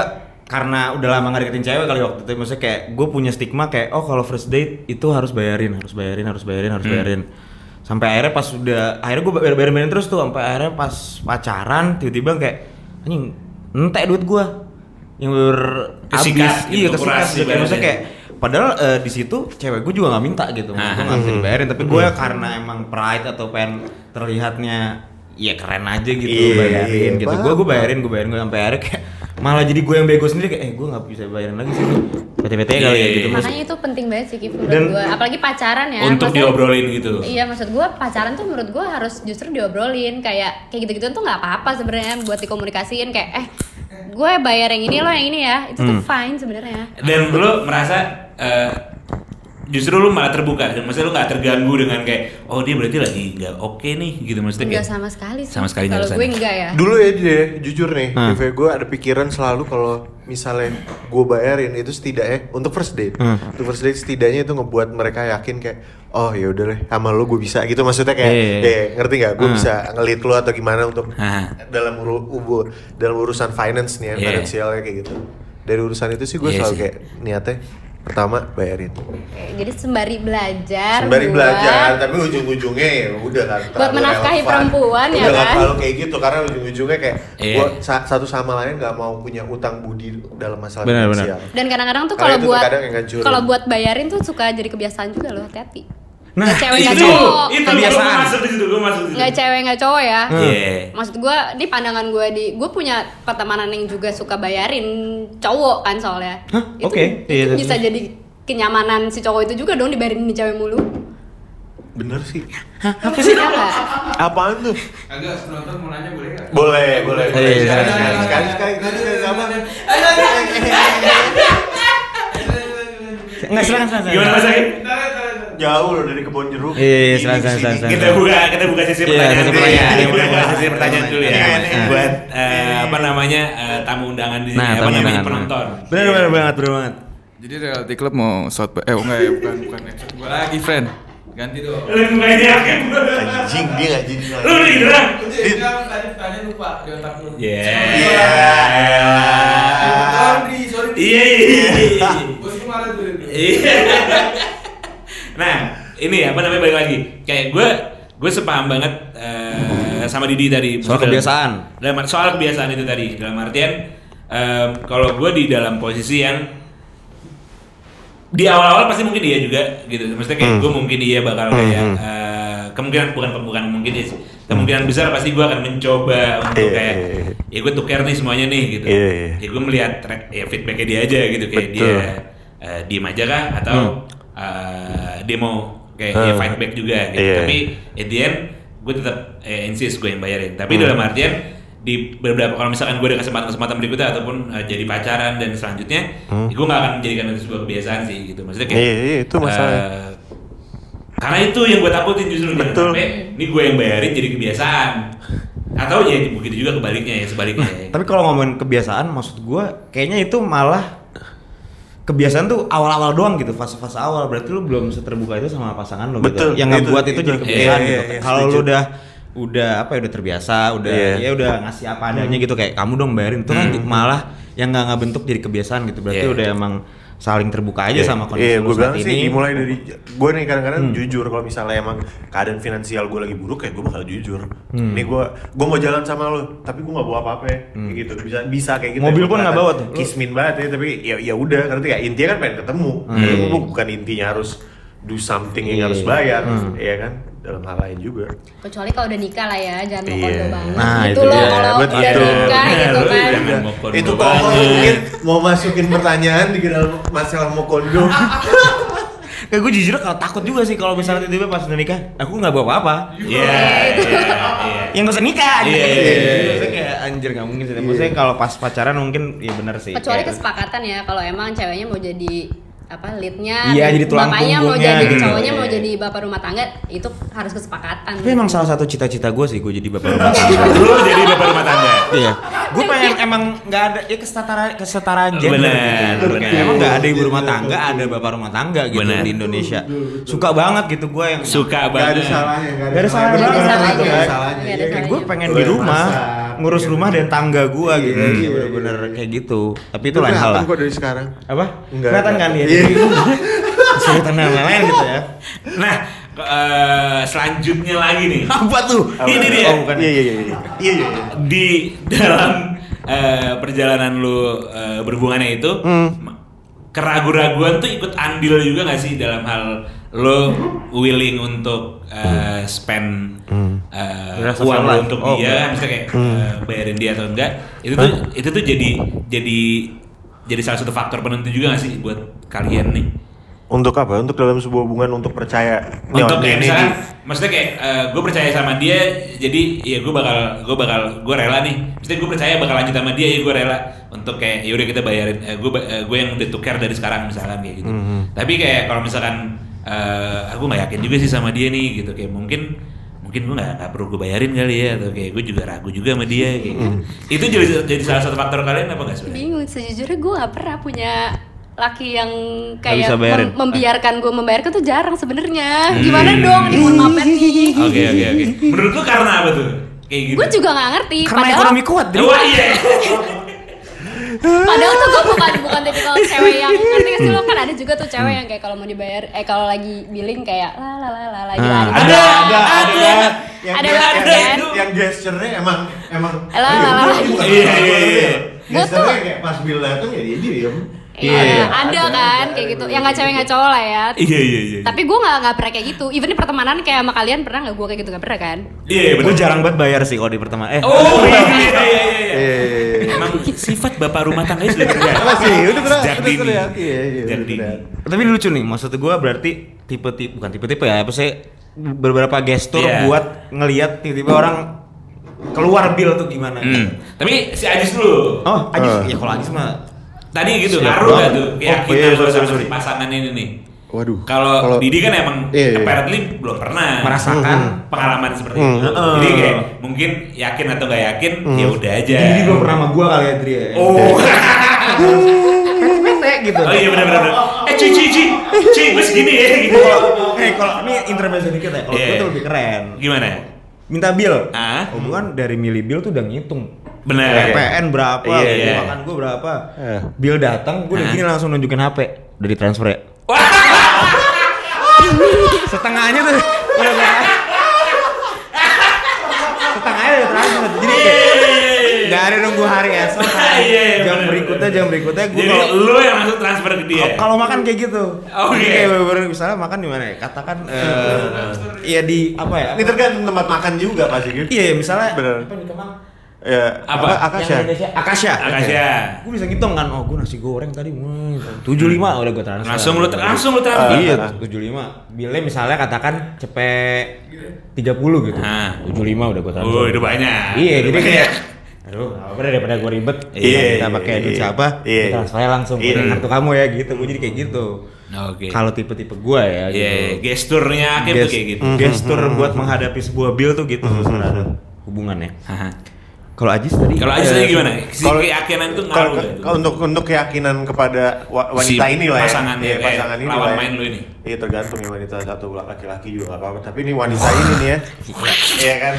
A: karena udah lama gak deketin cewek kali waktu itu maksudnya kayak gue punya stigma kayak oh kalau first date itu harus bayarin harus bayarin harus bayarin harus
C: Hmm.
A: bayarin sampai akhirnya pas udah akhirnya gue bayar bayarin terus tuh sampai akhirnya pas pacaran tiba-tiba kayak anjing entek duit gua yang ber
B: Kesikat,
A: iya
B: gitu,
A: kesikat
B: kurasi
A: gitu. maksudnya
B: bayarannya.
A: kayak padahal eh, di situ cewek gue juga nggak minta gitu gue nggak
C: Hmm.
A: bisa dibayarin tapi gue karena emang pride atau pengen terlihatnya ya keren aja gitu
C: Iya,
A: bayarin
C: iya,
A: gitu gue
C: paham,
A: gue bayarin gue bayarin gue sampai akhirnya kayak malah jadi gue yang bego sendiri kayak eh gue nggak bisa bayarin lagi sih PT-PT kali ya gitu Maksud-
E: makanya itu penting banget sih Kif
A: Dan-
E: menurut gue apalagi pacaran ya
B: Iya Untuk
E: Maksudnya-
B: diobrolin gitu.
E: Iya maksud gue pacaran tuh menurut gue harus justru diobrolin kayak kayak gitu-gitu tuh nggak apa-apa sebenarnya buat dikomunikasiin kayak eh gue bayar yang ini lo yang ini ya itu
B: Hmm.
E: tuh fine sebenarnya
B: dan lu merasa eh, justru lu malah terbuka dan maksudnya lu nggak terganggu dengan kayak oh dia berarti lagi nggak oke nih gitu maksudnya
E: Enggak
B: kayak-
E: sama sekali sih
B: sama sekali nggak
E: kalau
B: ada
E: gue
B: sana.
E: enggak ya
C: Dulu ya deh, jujur nih,
A: Hmm.
C: Vive, gue ada pikiran selalu kalau misalnya gue bayarin itu setidaknya untuk first date,
A: Hmm.
C: untuk first date setidaknya itu ngebuat mereka yakin kayak oh ya udah deh sama lo gue bisa gitu maksudnya kayak
A: Iya, iya, iya.
C: "Eh, ngerti nggak gue
A: Hmm.
C: bisa ngelit lo atau gimana untuk
B: Ah.
C: dalam uru, ubu- dalam urusan finance nih ya,
B: Iya.
C: finansialnya kayak gitu. Dari urusan itu sih gue
B: Iya
C: selalu
B: sih.
C: kayak niatnya pertama bayarin,
E: Oke, jadi sembari belajar
C: sembari
E: buat-
C: belajar tapi ujung-ujungnya ya udah kan
E: Buat
C: terlalu
E: menafkahi perempuan, ya
C: Udah
E: kan?
C: terlalu kayak gitu karena ujung-ujungnya kayak
B: Iya.
C: gua sa- satu sama lain nggak mau punya utang budi dalam masalah
A: Benar,
C: finansial
E: dan kadang-kadang tuh
C: Karena
E: kalau
C: itu
E: buat
C: terkadang yang ngancurin.
E: kalau buat bayarin tuh suka jadi kebiasaan juga loh hati-hati
A: Nah,
E: Nggak cewek nggak
B: itu
E: cowok
B: itu
A: Kebiasaan.
B: gue masuk di situ gue masuk di situ
E: nggak cewek nggak cowok ya
C: Hmm.
B: Iya.
A: Eh.
E: maksud gue ini pandangan gue di gue punya pertemanan yang juga suka bayarin cowok kan soalnya
A: Hah?
E: itu,
A: Oke. Iya,
E: itu
A: iya,
E: bisa
A: iya.
E: jadi kenyamanan si cowok itu juga dong dibayarin di cewek mulu Iya
C: bener sih
E: apa sih apa
C: apaan tuh
F: Agak penonton mau nanya boleh nggak?
C: boleh boleh
A: Iya, iya,
C: sekali
A: iya,
C: sekali
A: iya.
C: sekali sekali sekali sekali sama
A: Hmm. nggak silakan silakan
B: gimana mas Akin?
C: jauh loh dari kebon jeruk
A: Iya, iya,
C: Ini
A: silakan,
C: kesini.
A: silakan, silakan.
B: kita buka kita buka sesi
A: Iya, sesi
B: pertanyaan dulu ya
A: pertanyaan.
B: kita buka sesi
A: Iya.
B: pertanyaan dulu ya
C: Iya,
A: iya.
B: buat eh, apa namanya eh, tamu undangan di sini
A: Nah,
B: apa
A: tamu
B: namanya
A: undangan.
B: penonton
A: bener bener banget bener banget
F: Jadi reality club mau shot eh enggak ya bukan bukan episode gua lagi friend. Ganti dong.
C: Iya.
B: lu bukain dia Akin.
C: anjing dia nggak jadi
B: lu udah hilang
F: tadi tanya lupa di otak lu.
B: Iya.
C: Iya.
F: Sorry, sorry.
B: iya iya iya
F: Bos lu marah tuh.
B: Iya. nah, ini apa namanya balik lagi. Kayak gue gue sepaham banget eh, sama Didi tadi.
A: Soal
B: Dalam-
A: kebiasaan.
B: Dalam, soal kebiasaan itu tadi. Dalam artian em, kalau gue di dalam posisi yang di awal-awal pasti mungkin iya juga gitu. Maksudnya kayak
C: Hmm.
B: gue mungkin iya bakal kayak eh, kemungkinan bukan bukan mungkin iya sih. Kemungkinan besar pasti gue akan mencoba untuk
C: Iya,
B: kayak
C: iya, iya.
B: ya gue tuker nih semuanya nih gitu.
C: Iya, iya.
B: Ya gue melihat track ya feedbacknya dia aja gitu kayak
C: Betul. Hmm.
B: dia eh, diem aja kah atau eh, dia mau kayak ya, fight back juga gitu.
C: Iya. Hmm.
B: Tapi at the end gue tetap eh, insist gue yang bayarin. Tapi dalam artian di beberapa kalau misalkan gue ada kesempatan-kesempatan berikutnya ataupun eh, jadi pacaran dan selanjutnya, ya gue gak akan menjadikan itu sebuah kebiasaan sih gitu. Maksudnya kayak
C: Hmm. Iya, iya, itu masalah.
B: eh, karena itu yang gue takutin justru jangan
C: Betul.
B: sampai ini gue yang bayarin jadi kebiasaan. Atau ya begitu juga kebaliknya ya sebaliknya. ya.
A: tapi kalau ngomongin kebiasaan maksud gue kayaknya itu malah kebiasaan tuh awal-awal doang gitu fase-fase awal berarti lu belum seterbuka itu sama pasangan lo gitu
C: Betul,
A: yang nggak
C: itu,
A: buat itu,
C: itu.
A: jadi kebiasaan
C: Iya,
A: gitu
C: iya, iya,
A: kalau lu
C: setuju.
A: udah udah apa ya udah terbiasa udah
C: Iya. Hmm.
A: ya udah ngasih apa adanya gitu kayak kamu dong bayarin itu kan malah yang nggak nggak bentuk jadi kebiasaan gitu berarti
B: Iya.
A: udah emang saling terbuka aja sama kondisi
C: Iya,
A: lu saat
C: gue bilang sih
A: ini Hmm.
C: dimulai dari gue nih kadang-kadang jujur kalau misalnya emang keadaan finansial gue lagi buruk ya gue bakal jujur.
A: Hmm.
C: Nih gue gue mau jalan sama lo, tapi gue nggak bawa apa-apa ya, kayak gitu. Bisa bisa kayak gitu.
A: Mobil
C: Ya,
A: pun nggak bawa tuh. Lu-
C: Kismin banget ya, tapi ya ya udah ngerti gak? Intinya kan pengen ketemu.
A: Hmm.
C: Ketemu bukan intinya harus do something
A: Iya.
C: yang harus bayar,
A: Hmm.
C: ya kan? Dalam hal lain juga.
E: kecuali kalau udah nikah lah ya jangan mau
C: Iya.
E: kondo banget
A: Nah,
E: gitu
A: itu
E: loh
A: dia.
E: kalau
A: Betul.
E: udah nikah gitu
B: Betul.
E: kan
B: Jangan mau kondo
C: itu
B: banget.
C: tolong mungkin mau masukin pertanyaan di dalam masalah mau kondo.
A: kayak gue jujur kalau takut juga sih kalau misalnya
C: Iya.
A: tiba-tiba pas udah nikah aku nggak bawa apa-apa
B: Iya. iya.
A: yang gak usah nikah gitu.
B: Iya, iya, iya.
A: Maksudnya kayak anjir gak mungkin sih. Maksudnya kalau pas pacaran mungkin ya bener sih.
E: kecuali
A: Kayak-
E: kesepakatan ya kalau emang ceweknya mau jadi apa leadnya
A: Iya, jadi tulang
E: bapaknya mau
A: punggungnya
E: jadi
A: gitu.
E: cowoknya mau
A: Iya.
E: jadi bapak rumah tangga itu harus kesepakatan
A: Tapi emang salah satu cita-cita gue sih gue jadi bapak rumah tangga.
B: Iya. Lu jadi bapak rumah tangga.
A: Iya. Gue pengen emang nggak ada ya kesetara kesetaraan gender
B: Bener,
A: gitu. Kayak
B: bener.
A: emang nggak ada ibu rumah tangga, ada bapak rumah tangga gitu
B: Bener.
A: di Indonesia. Suka banget gitu gue yang
B: Suka
C: Gak ada
B: banget.
C: salahnya,
A: Gak ada salahnya.
E: Gak ada
C: Bener-bener
E: salahnya.
C: gak ada
E: Gak Iya, ada
C: salahnya. Iya, gitu.
A: Kayak gue pengen
C: Lu
A: di
C: yang
A: rumah
C: masak,
A: ngurus
C: iya,
A: rumah dan tangga gue gitu.
C: Iya,
A: Iya,
C: iya,
A: bener-bener
C: iya.
A: kayak gitu. Tapi itu lain hal lah.
C: Kok dari sekarang?
A: Apa?
C: Enggak,
A: Kelihatan
C: enggak.
A: kan ya.
C: Iya.
A: Jadi kesulitan dan lain-lain gitu ya.
B: Nah, ke- eh, selanjutnya lagi nih.
A: Apa tuh?
B: Ini dia.
A: Oh, bukan.
C: Iya iya iya. Iya iya. iya.
B: Di dalam eh, perjalanan lu eh, berhubungannya itu ma- keraguan-raguan tuh ikut andil juga gak sih dalam hal lo willing untuk uh, spend uh,
A: Rest of your
B: uang lo
A: life.
B: untuk
A: Oh,
B: dia,
A: okay.
B: misalnya kayak uh, bayarin dia atau enggak. Itu tuh itu tuh jadi jadi jadi salah satu faktor penentu juga gak sih buat kalian nih?
C: Untuk apa? Untuk dalam sebuah hubungan untuk percaya. Nih,
B: untuk
C: nih,
B: kayak
C: nih,
B: misalkan,
C: nih.
B: maksudnya kayak gue percaya sama dia, jadi ya gue bakal gue bakal gue rela nih. Maksudnya gue percaya bakal lanjut sama dia, ya gue rela untuk kayak ya udah kita bayarin. gue gue eh, yang udah tukar dari sekarang misalkan kayak gitu. Tapi kayak kalau misalkan eh, aku nggak yakin juga sih sama dia nih gitu kayak mungkin mungkin gue nggak nggak perlu gue bayarin kali ya atau kayak gue juga ragu juga sama dia kayak gitu. Itu jadi jadi salah satu faktor kalian apa nggak sebenarnya?
E: bingung sejujurnya gue gak pernah punya laki yang
A: bisa
E: kayak
A: bayarin.
E: mem- membiarkan gue membayarkan tuh jarang sebenarnya gimana dong ini mohon maaf nih
B: Oke oke oke. Menurut lu karena apa tuh? Kayak gitu.
E: gue juga gak ngerti
A: Karena
E: padahal
A: ekonomi kuat, Dri.
B: Wah, iya.
E: padahal tuh gue bukan bukan tipikal cewek yang ngerti gak sih lo kan ada juga tuh cewek yang kayak kalau mau dibayar eh kalau lagi billing kayak la la la la la gitu
A: Ah.
E: ada
B: Ada, ada.
C: Yang
E: ada
C: dia-
E: banget
B: ada
E: kan
B: itu.
C: Yang gesture-nya emang emang.
E: Elah, elah, elah.
B: Iya, iya, iya.
E: Gua tuh-
C: Gesture-nya kayak pas Bill datang ya dia diem.
E: Iya, ada kan kayak gitu. Yang nggak cewek nggak cowok lah ya.
B: Iya iya iya.
E: Tapi gue nggak nggak pernah kayak gitu. Even di pertemanan kayak sama kalian pernah nggak gue kayak gitu nggak pernah kan?
B: Iya
A: Gue jarang banget bayar sih kalau di pertama. Eh,
B: Oh iya iya iya. iya.
D: Eh,
B: Emang sifat bapak rumah tangga sudah terlihat.
D: Apa sih? Udah pernah-
B: Sejak
D: udah
B: dini.
D: pernah, iya, iya,
B: Sejak
D: udah
B: dini.
D: pernah.
A: tapi lucu nih. Maksud gue berarti tipe-tipe bukan tipe-tipe ya, apa sih beberapa gestur
B: Iya.
A: buat ngelihat tiba-tiba orang keluar bill tuh gimana.
B: Hmm. Tapi si Ajis dulu.
A: Oh, Ajis,
D: Eh.
A: ya kalau Ajis mah
B: Tadi gitu
A: Siap
B: ngaruh nggak
A: banget.
B: tuh
A: Oh, iya,
B: keyakinan
A: sorry,
B: lu sama
A: sorry, sorry.
B: pasangan ini nih.
D: Waduh.
B: Kalau Didi kan emang
D: Iya, iya.
B: apparently belum pernah
A: merasakan
B: pengalaman seperti
D: Hmm.
B: itu.
A: Heeh.
B: Jadi kayak mungkin yakin atau nggak yakin ya udah aja.
A: Jadi belum pernah sama gue kali ya, Dri ya.
B: Oh.
A: Bete gitu.
B: Oh iya benar benar. Eh cuci cuci cuci gue segini ya gitu.
A: Eh, kalau ini intermezzo dikit ya, kalau gue
B: Iya.
A: tuh lebih keren.
B: Gimana?
A: Minta bill.
B: Ah?
A: Hubungan dari milih bill tuh udah ngitung.
B: Benar.
A: PPN berapa,
B: Nah, Iya,
A: beli
B: iya.
A: makan gue berapa.
D: Eh.
A: Bill datang, gue udah
B: Hah?
A: gini langsung nunjukin HP. Udah ditransfer ya. Setengahnya tuh. udah kayak- Setengahnya udah transfer. Jadi kayak nggak ada nunggu hari esok. hari
B: Iya, iya,
A: jam
B: bener,
A: berikutnya,
B: bener.
A: jam berikutnya gue
B: Jadi lu yang langsung transfer ke dia.
A: Kalau- Kalau makan kayak gitu.
B: Oke.
A: Jadi Kayak bener-bener misalnya makan di mana ya? Katakan
B: Iya,
A: eh ya di apa ya?
C: Ini tergantung tempat makan juga pasti gitu.
A: Iya, ya, misalnya
C: Bener.
A: apa di Kemang?
C: Ya,
B: Apa?
C: Akasha.
A: Yang Indonesia, Akasha.
B: Akasya.
A: Gue bisa ngitung kan, oh gue nasi goreng tadi tujuh lima udah gue transfer.
B: Langsung lu langsung lu transfer.
A: Iya, tujuh lima. Bila misalnya katakan cepet tiga puluh gitu,
B: Ah.
A: tujuh lima udah gue transfer.
B: Oh, itu banyak.
A: Iya,
B: Itu
A: jadi
B: banyak.
A: kayak Aduh, apa deh, daripada gue ribet.
C: Iya,
A: kita
C: iya,
A: pakai
C: iya.
A: duit siapa?
C: Iya.
A: Kita transfer langsung
C: Iya.
A: pakai kartu kamu ya gitu. Gue jadi kayak gitu.
B: Oke.
A: Kalau tipe-tipe gue ya
B: Iya,
A: gitu.
B: gesturnya Akib
A: Ges- Mhm.
B: tuh kayak gitu.
A: gestur buat menghadapi sebuah bill tuh gitu sebenarnya hubungannya.
B: Haha.
A: Kalau Ajis tadi
B: Kalau Ajis tadi
A: eh,
B: gimana? Si
C: kalau-
B: keyakinan itu ngaruh
C: Kalau
B: nggak tuh?
C: kalau untuk untuk keyakinan kepada wa-
B: Si
C: wanita ini lah ya.
B: pasangan
C: Iya,
B: ya,
C: pasangan
B: kayak
C: ini
B: lawan
C: lah ya.
B: main lu ini.
C: Iya tergantung ya wanita satu laki-laki juga gak apa-apa. Tapi ini wanita ini nih ya. Iya kan.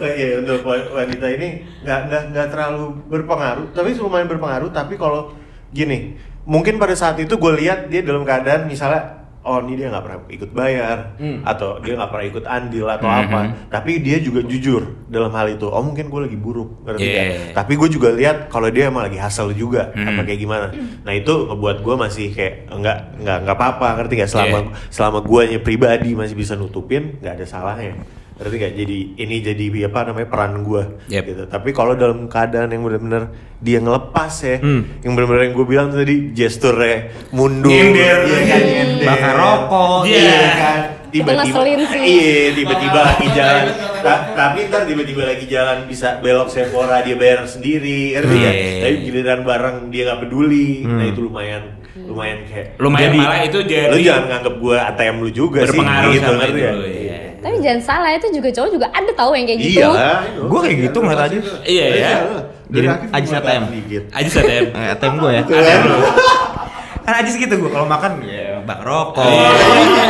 C: Oh, Iya untuk wa- wanita ini nggak nggak nggak terlalu berpengaruh. Tapi lumayan berpengaruh. Tapi kalau gini, mungkin pada saat itu gue lihat dia dalam keadaan misalnya oh ini dia nggak pernah ikut bayar
B: Hmm.
C: atau dia nggak pernah ikut andil atau apa tapi dia juga jujur dalam hal itu oh mungkin gue lagi buruk ngerti nggak?
B: Yeah.
C: tapi gue juga lihat kalau dia emang lagi hasil
B: Iya.
C: juga
B: Hmm.
C: apa kayak gimana nah itu ngebuat gue masih kayak nggak nggak nggak apa apa ngerti nggak selama
B: Iya.
C: selama guanya pribadi masih bisa nutupin nggak ada salahnya ngerti nggak jadi ini jadi apa namanya peran gue
B: Yep.
C: gitu tapi kalau dalam keadaan yang benar-benar dia ngelepas ya
A: Hmm.
C: yang benar-benar yang gue bilang tadi gesturnya mundur
B: Nyender.
C: iya kan, nyender.
A: bakar rokok.
B: Iya.
C: Iya kan tiba-tiba
E: ngeselin sih.
C: iya tiba-tiba lagi jalan Ta- tapi ntar tiba-tiba lagi jalan bisa belok Sephora dia bayar sendiri ngerti nggak?
B: Iya.
C: tapi giliran barang dia nggak peduli nah itu lumayan lumayan kayak
B: Hmm. Lumayan malah itu jadi-
C: lu jangan nganggap gue ATM lu juga sih
B: Berpengaruh
C: gitu,
B: sama
C: ngerti
B: itu,
A: ya.
C: nggak?
B: iya.
E: Tapi jangan salah itu juga cowok juga ada tahu yang kayak gitu.
C: iya
A: Gua kayak gitu ngeliat Ajis.
B: Iya, ya.
A: Jadi Ajis ATM.
B: Ajis ada ya?
A: Eh, ATM gue ya.
C: ATM lu
A: Kan Ajis gitu gue kalau makan ya bak rokok.
B: Iya.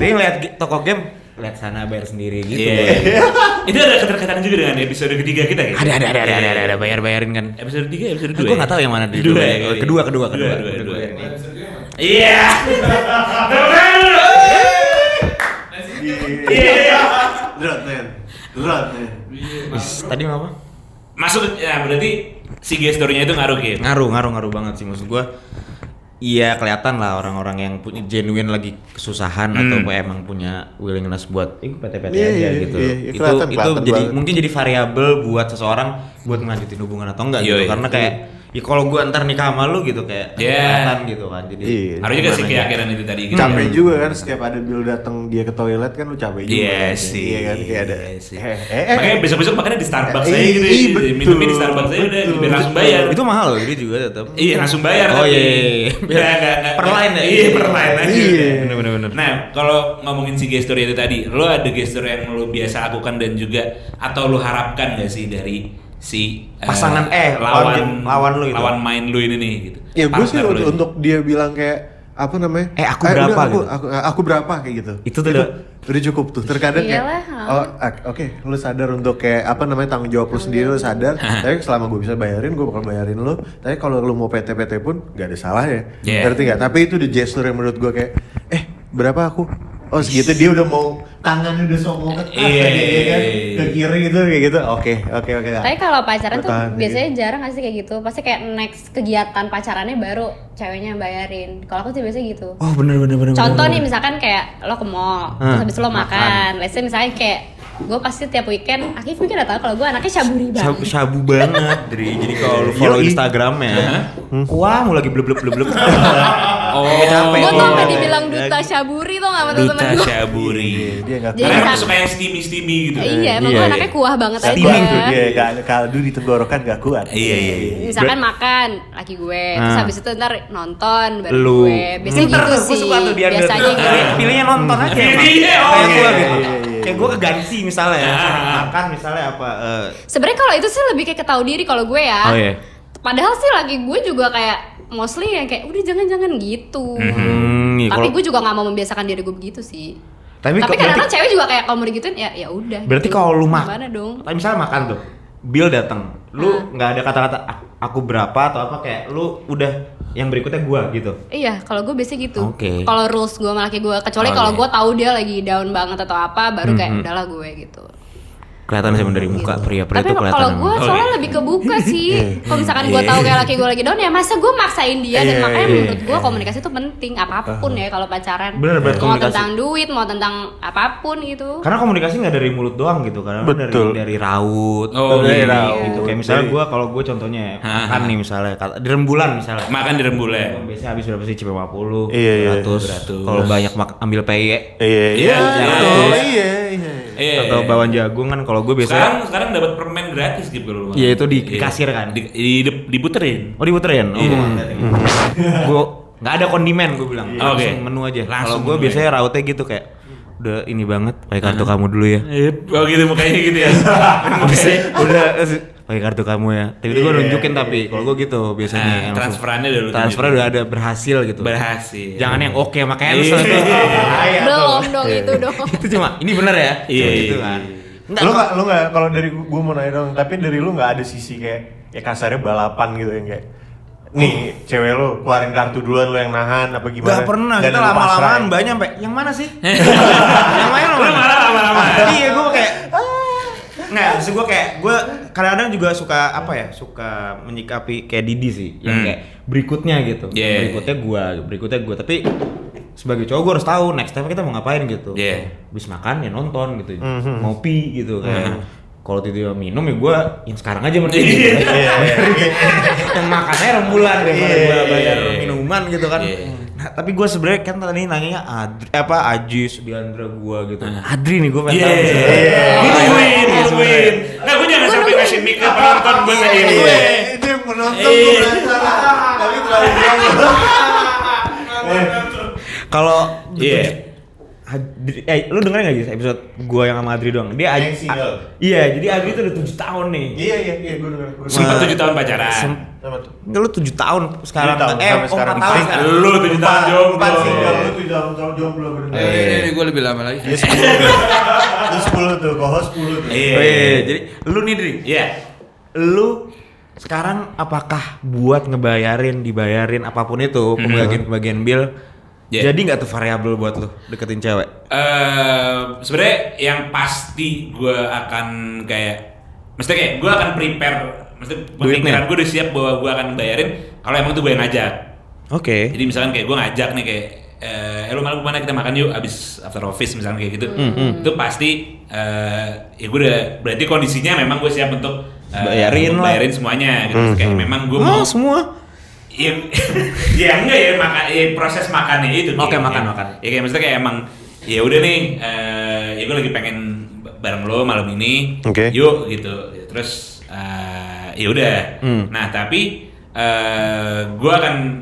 A: Dia ngeliat gi- toko game lihat sana bayar sendiri gitu.
B: Iya. Itu ada keterkaitan juga dengan episode ketiga kita ya?
A: Ada ada ada ada ada, ada, ada bayar bayarin kan.
B: Episode 3, episode 2
A: Gue nggak tahu yang mana di
B: Kedua,
A: dua.
B: ya,
A: ya.
B: kali.
A: Kedua kedua kedua.
B: Kedua, kedua,
A: kedua.
B: kedua. Iya. Iya.
C: Drot, man. Drot, man.
A: Is, Tadi mau apa?
B: Masuk, ya berarti si gesturnya itu ngaruh gitu.
A: ngaruh ngaruh ngaruh banget sih maksud gua iya kelihatan lah orang-orang yang punya genuine lagi kesusahan
B: Hmm.
A: atau apa emang punya willingness buat "Ih, PT-PT
C: Iya,
A: aja
C: iya,
A: gitu
C: iya, iya,
A: itu
C: kelihatan,
A: itu
C: kelihatan
A: jadi
C: banget.
A: mungkin jadi variabel buat seseorang buat ngelanjutin hubungan atau enggak gitu
B: Yoi.
A: karena kayak ya kalau gua ntar nikah sama lu gitu kayak
B: Yeah.
A: kelihatan gitu kan jadi
C: Iya.
B: Harus juga sih
A: gimana ya.
B: keyakinan itu tadi gitu.
C: capek juga kan setiap ada Bill datang dia ke toilet kan lu capek juga
B: Iya
C: kan.
B: sih.
C: iya kan kayak ada
B: Iya sih.
C: eh, eh, eh,
B: Makanya besok-besok makanya di Starbucks
C: Eh,
B: saya gitu.
C: iya,
B: ya.
C: betul,
B: Minumnya di Starbucks saya udah
C: betul,
B: biar langsung
C: betul.
B: bayar.
A: itu mahal loh jadi juga tetap
B: Iya langsung bayar.
A: oh
B: tapi.
A: iya, iya, iya.
B: Nggak, nggak, nggak.
A: per line ya
B: Iya per line aja.
C: Iya.
A: bener bener bener
B: Nah kalau ngomongin si gestur itu tadi, lo ada gestur yang lo biasa lakukan dan juga atau lo harapkan gak sih dari si eh,
A: Pasangan, eh, lawan-
B: lawan
A: lawan lo gitu.
B: lawan main lo ini nih gitu.
C: ya gue sih
B: Partner lo
C: untuk,
B: ini.
C: untuk dia bilang kayak apa namanya
A: Eh, aku berapa
C: udah, aku,
A: gitu.
C: aku, aku berapa kayak gitu
A: Itu tuh udah-
C: udah cukup tuh terkadang kayak
E: Iyalah,
C: oh ak- oke lu sadar untuk kayak apa namanya tanggung jawab lu sendiri lu sadar tapi selama gue bisa bayarin gue bakal bayarin lu tapi kalau lu mau PT PT pun gak ada salahnya
B: Iya.
C: ngerti nggak tapi itu the gesture yang menurut gue kayak eh berapa aku oh segitu dia udah mau tangannya udah songong ke atas
B: Iya,
C: kayak gitu kan,
B: iya, iya.
C: ke kiri gitu kayak gitu oke oke oke Iya,
E: Tapi kalau pacaran tuh
C: Bertahan,
E: biasanya jarang nggak sih kayak gitu. Pasti kayak next kegiatan pacarannya baru ceweknya yang bayarin. Kalau aku sih biasanya gitu.
A: oh bener bener bener
E: Contoh
A: bener,
E: nih
A: bener.
E: misalkan kayak lo ke mall,
A: Hah,
E: terus habis lo makan. Let's say misalnya kayak gue pasti tiap weekend, Akif mungkin udah tahu kalau gue anaknya syaburi banget.
A: Sabu, sabu banget, Dri. Jadi kalau lu follow ya. Hmm.
C: Yoi.
A: Instagramnya, wah mau lagi blub blub blub blub.
B: Oh,
A: capek.
E: Gue tuh sampai
A: Oh.
E: dibilang duta syaburi tuh gak sama
B: duta
E: temen-temen gue.
B: syaburi.
C: Iya, dia nggak
E: Jadi
B: Karena emang
E: sa-
B: suka yang steamy-steamy gitu. kan.
E: Iya, emang
A: Iya,
E: gue
A: iya.
E: anaknya kuah banget aja.
C: Steaming tuh iya, dia, gak, kaldu di tenggorokan gak kuat.
B: Iya, iya, iya.
E: Misalkan makan, laki gue. Terus
A: Ah.
E: habis itu ntar nonton bareng
A: Lu. Hmm.
E: gue. Biasanya
A: Pinter
E: gitu
A: tuh, gua
E: sih.
A: suka tuh dia ambil.
E: Biasanya gitu.
A: Pilih- Pilihnya nonton aja.
B: Pilih
A: emang.
B: dia,
A: Kayak
B: oke.
A: gua gitu.
C: Iya, iya, iya.
A: Kayak gue keganti misalnya ya.
B: Ah.
A: Makan misalnya apa? eh,
E: Sebenarnya kalau itu sih lebih kayak ketahu diri kalau gue ya.
A: Oh, iya.
E: Padahal sih laki gue juga kayak mostly yang kayak udah jangan-jangan gitu.
A: Hmm, iya,
E: Tapi
A: kalau-
E: gue juga nggak mau membiasakan diri gue begitu sih.
A: Tapi
E: Tapi
A: ke-
E: kadang-kadang
A: berarti-
E: cewek juga kayak kalau mau digituin ya ya udah.
A: Berarti
E: gitu.
A: kalau lu mak-
E: Gimana dong?
A: Tapi misalnya makan tuh, Bill datang, lu nggak ada kata-kata "A- aku berapa atau apa kayak lu udah yang berikutnya gua gitu.
E: Iya, kalau gue biasanya gitu.
A: Oke. Oh, iya.
E: Kalau rules gue sama laki gue, kecuali
A: Oke.
E: kalau gue tahu dia lagi down banget atau apa, baru
A: Mhm.
E: kayak udahlah gue gitu.
A: Kelihatan sih dari muka pria-pria
E: Tapi
A: itu Ya, kelihatan.
E: kalau gue
B: emang.
E: soalnya
B: Oke.
E: lebih kebuka sih. kalau misalkan gue tahu kayak laki gue lagi down ya, masa gue maksain dia dan
C: Iya,
E: makanya
C: iya,
E: menurut gue komunikasi itu penting apapun ya kalau pacaran.
A: Bener, bener,
E: mau
A: komunikasi.
E: tentang duit, mau tentang apapun
A: Oh.
E: gitu.
A: Karena komunikasi nggak dari mulut doang gitu, karena dari
C: Betul.
A: dari raut,
B: Oh,
A: dari
B: iya.
A: raut. Gitu. Kayak misalnya
C: Jadi-
A: gue kalau gue contohnya ya,
B: Hah.
A: makan nih misalnya, kata, di rembulan misalnya.
B: Makan di rembulan. Iya,
A: Biasanya habis berapa sih? Cuma 50,
C: Iya, iya.
A: 100. Kalau banyak mak ambil peye
C: Iya,
B: Iya, iya,
C: betul,
B: iya.
C: iya, iya.
B: Iya.
A: atau bawang jagung kan kalau gue
B: Sekarang
A: biasanya
B: sekarang dapat permen gratis gitu kalau lu makan.
A: Iya, itu di- di
B: Iya.
A: kasir kan?
B: Di, di- diputerin.
A: Oh diputerin? Oh,
B: Iya.
A: gue nggak ada kondimen gue bilang.
B: Iya. Oke.
A: Langsung menu aja. Kalau
B: Langsung
A: gue
B: menu
A: biasanya rautnya gitu kayak udah ini banget pakai kartu kamu dulu ya.
B: Oh gitu mukanya gitu ya.
A: Abisnya udah eh, pakai kartu kamu ya. Tapi itu gue nunjukin tapi kalau gue gitu biasanya.
B: Iya. Nah,
A: langsung.
B: transferannya udah lu
A: Transfer
B: tunjukin.
A: udah ada berhasil gitu.
B: Berhasil.
A: Jangan yang oke sama
B: Iya.
A: cancel tuh. Bahaya tuh.
E: Belum dong itu dong.
A: Itu cuma ini bener ya. Cuma
B: Iya,
A: gitu
B: iya,
A: kan. Enggak.
C: Lu gak, lu gak, kalau dari gue mau nanya dong, tapi dari lu gak ada sisi kayak, ya kasarnya balapan gitu yang kayak, nih cewek lu keluarin kartu duluan lu yang nahan apa gimana?
A: Gak pernah, kita
C: Dan lu gitu.
A: lama-lamaan
C: pasrahin.
A: banyak sampai yang mana sih? yang mana? Lu malah lama-lama.
B: ya?
A: Iya, gue kayak Nggak, justru gue kayak gue kadang-kadang juga suka apa ya, suka menyikapi kayak Didi sih, yang
B: Hmm.
A: kayak berikutnya gitu,
B: Yeah.
A: berikutnya gue, berikutnya gue. Tapi sebagai cowok gue harus tahu next time kita mau ngapain gitu.
B: Yeah.
A: Habis makan ya nonton gitu, ngopi gitu kayak. Kalau tiba-tiba minum ya gue yang sekarang aja mending. gitu. yang makannya rembulan daripada
C: Iya,
A: gue bayar
B: iya.
A: minuman gitu kan.
B: Iya.
A: Nah, tapi gue sebenarnya kan tadi nanyanya Adri, apa Ajis Diandra gue gitu. Adri nih gue pengen
B: Iya.
A: tahu misalnya.
B: Gue
A: iya.
B: nungguin, gue nungguin. Nah, gue jangan
E: Gua
B: sampai
E: nungguin.
B: ngasih mic ke penonton gue nanya gue.
C: Iya, itu yang penonton gue penasaran, tapi terlalu banyak.
A: Kalau
B: Iya.
A: Adri, eh lu dengerin gak Jis episode gue yang sama Adri doang? Dia
C: Yang
A: Aj-
C: single.
A: A- Iya, jadi Adri tuh udah 7 tahun nih.
C: Iya, iya, iya, gue denger. gua
B: Sempat
C: denger.
B: tujuh tahun pacaran.
A: Sem-
C: Sama
B: gitu.
C: tuh.
A: Enggak lu 7 tahun sekarang.
C: Tujuh tahun,
A: eh,
C: sampai
A: oh,
C: sekarang. Iya.
A: empat tahun
C: Sing-
A: sekarang.
B: Lu tujuh tahun
C: Empat- Empat single,
B: jomblo.
C: Iya, lu tujuh tahun tahun jomblo bener.
F: Eh, ini, ini gue lebih lama lagi.
C: Iya, sepuluh. Lu sepuluh tuh, kohos sepuluh tuh.
B: Iya.
A: Oh, iya, jadi lu nih Dri,
B: Iya.
A: lu sekarang apakah buat ngebayarin dibayarin apapun itu
B: Mm-hmm.
A: pembagian pembagian bill
B: Yeah.
A: jadi nggak tuh variabel buat lu deketin cewek
B: eh sebenarnya yang pasti gue akan kayak mesti kayak gue akan prepare maksudnya
A: Duitnya.
B: pemikiran gue udah siap bahwa gue akan bayarin kalau emang tuh gue yang ngajak
A: Oke.
B: jadi misalkan kayak gue ngajak nih kayak eh eh, lu malam kemana kita makan yuk abis after office misalkan kayak gitu
A: Hmm,
B: itu pasti eh ya gue udah berarti kondisinya memang gue siap untuk eh,
A: Bayarin lah.
B: bayarin semuanya gitu Terus kayak memang gue
A: Oh,
B: mau
A: semua.
B: Iya, ya enggak ya, maka, ya proses makannya itu.
A: Oke,
B: kayak-
A: makan,
B: ya.
A: makan.
B: Ya kayak maksudnya kayak emang ya udah nih, eh ya gue lagi pengen bareng lo malam ini.
D: Oke.
B: Yuk gitu. Ya, Terus eh ya udah. Nah tapi eh gue akan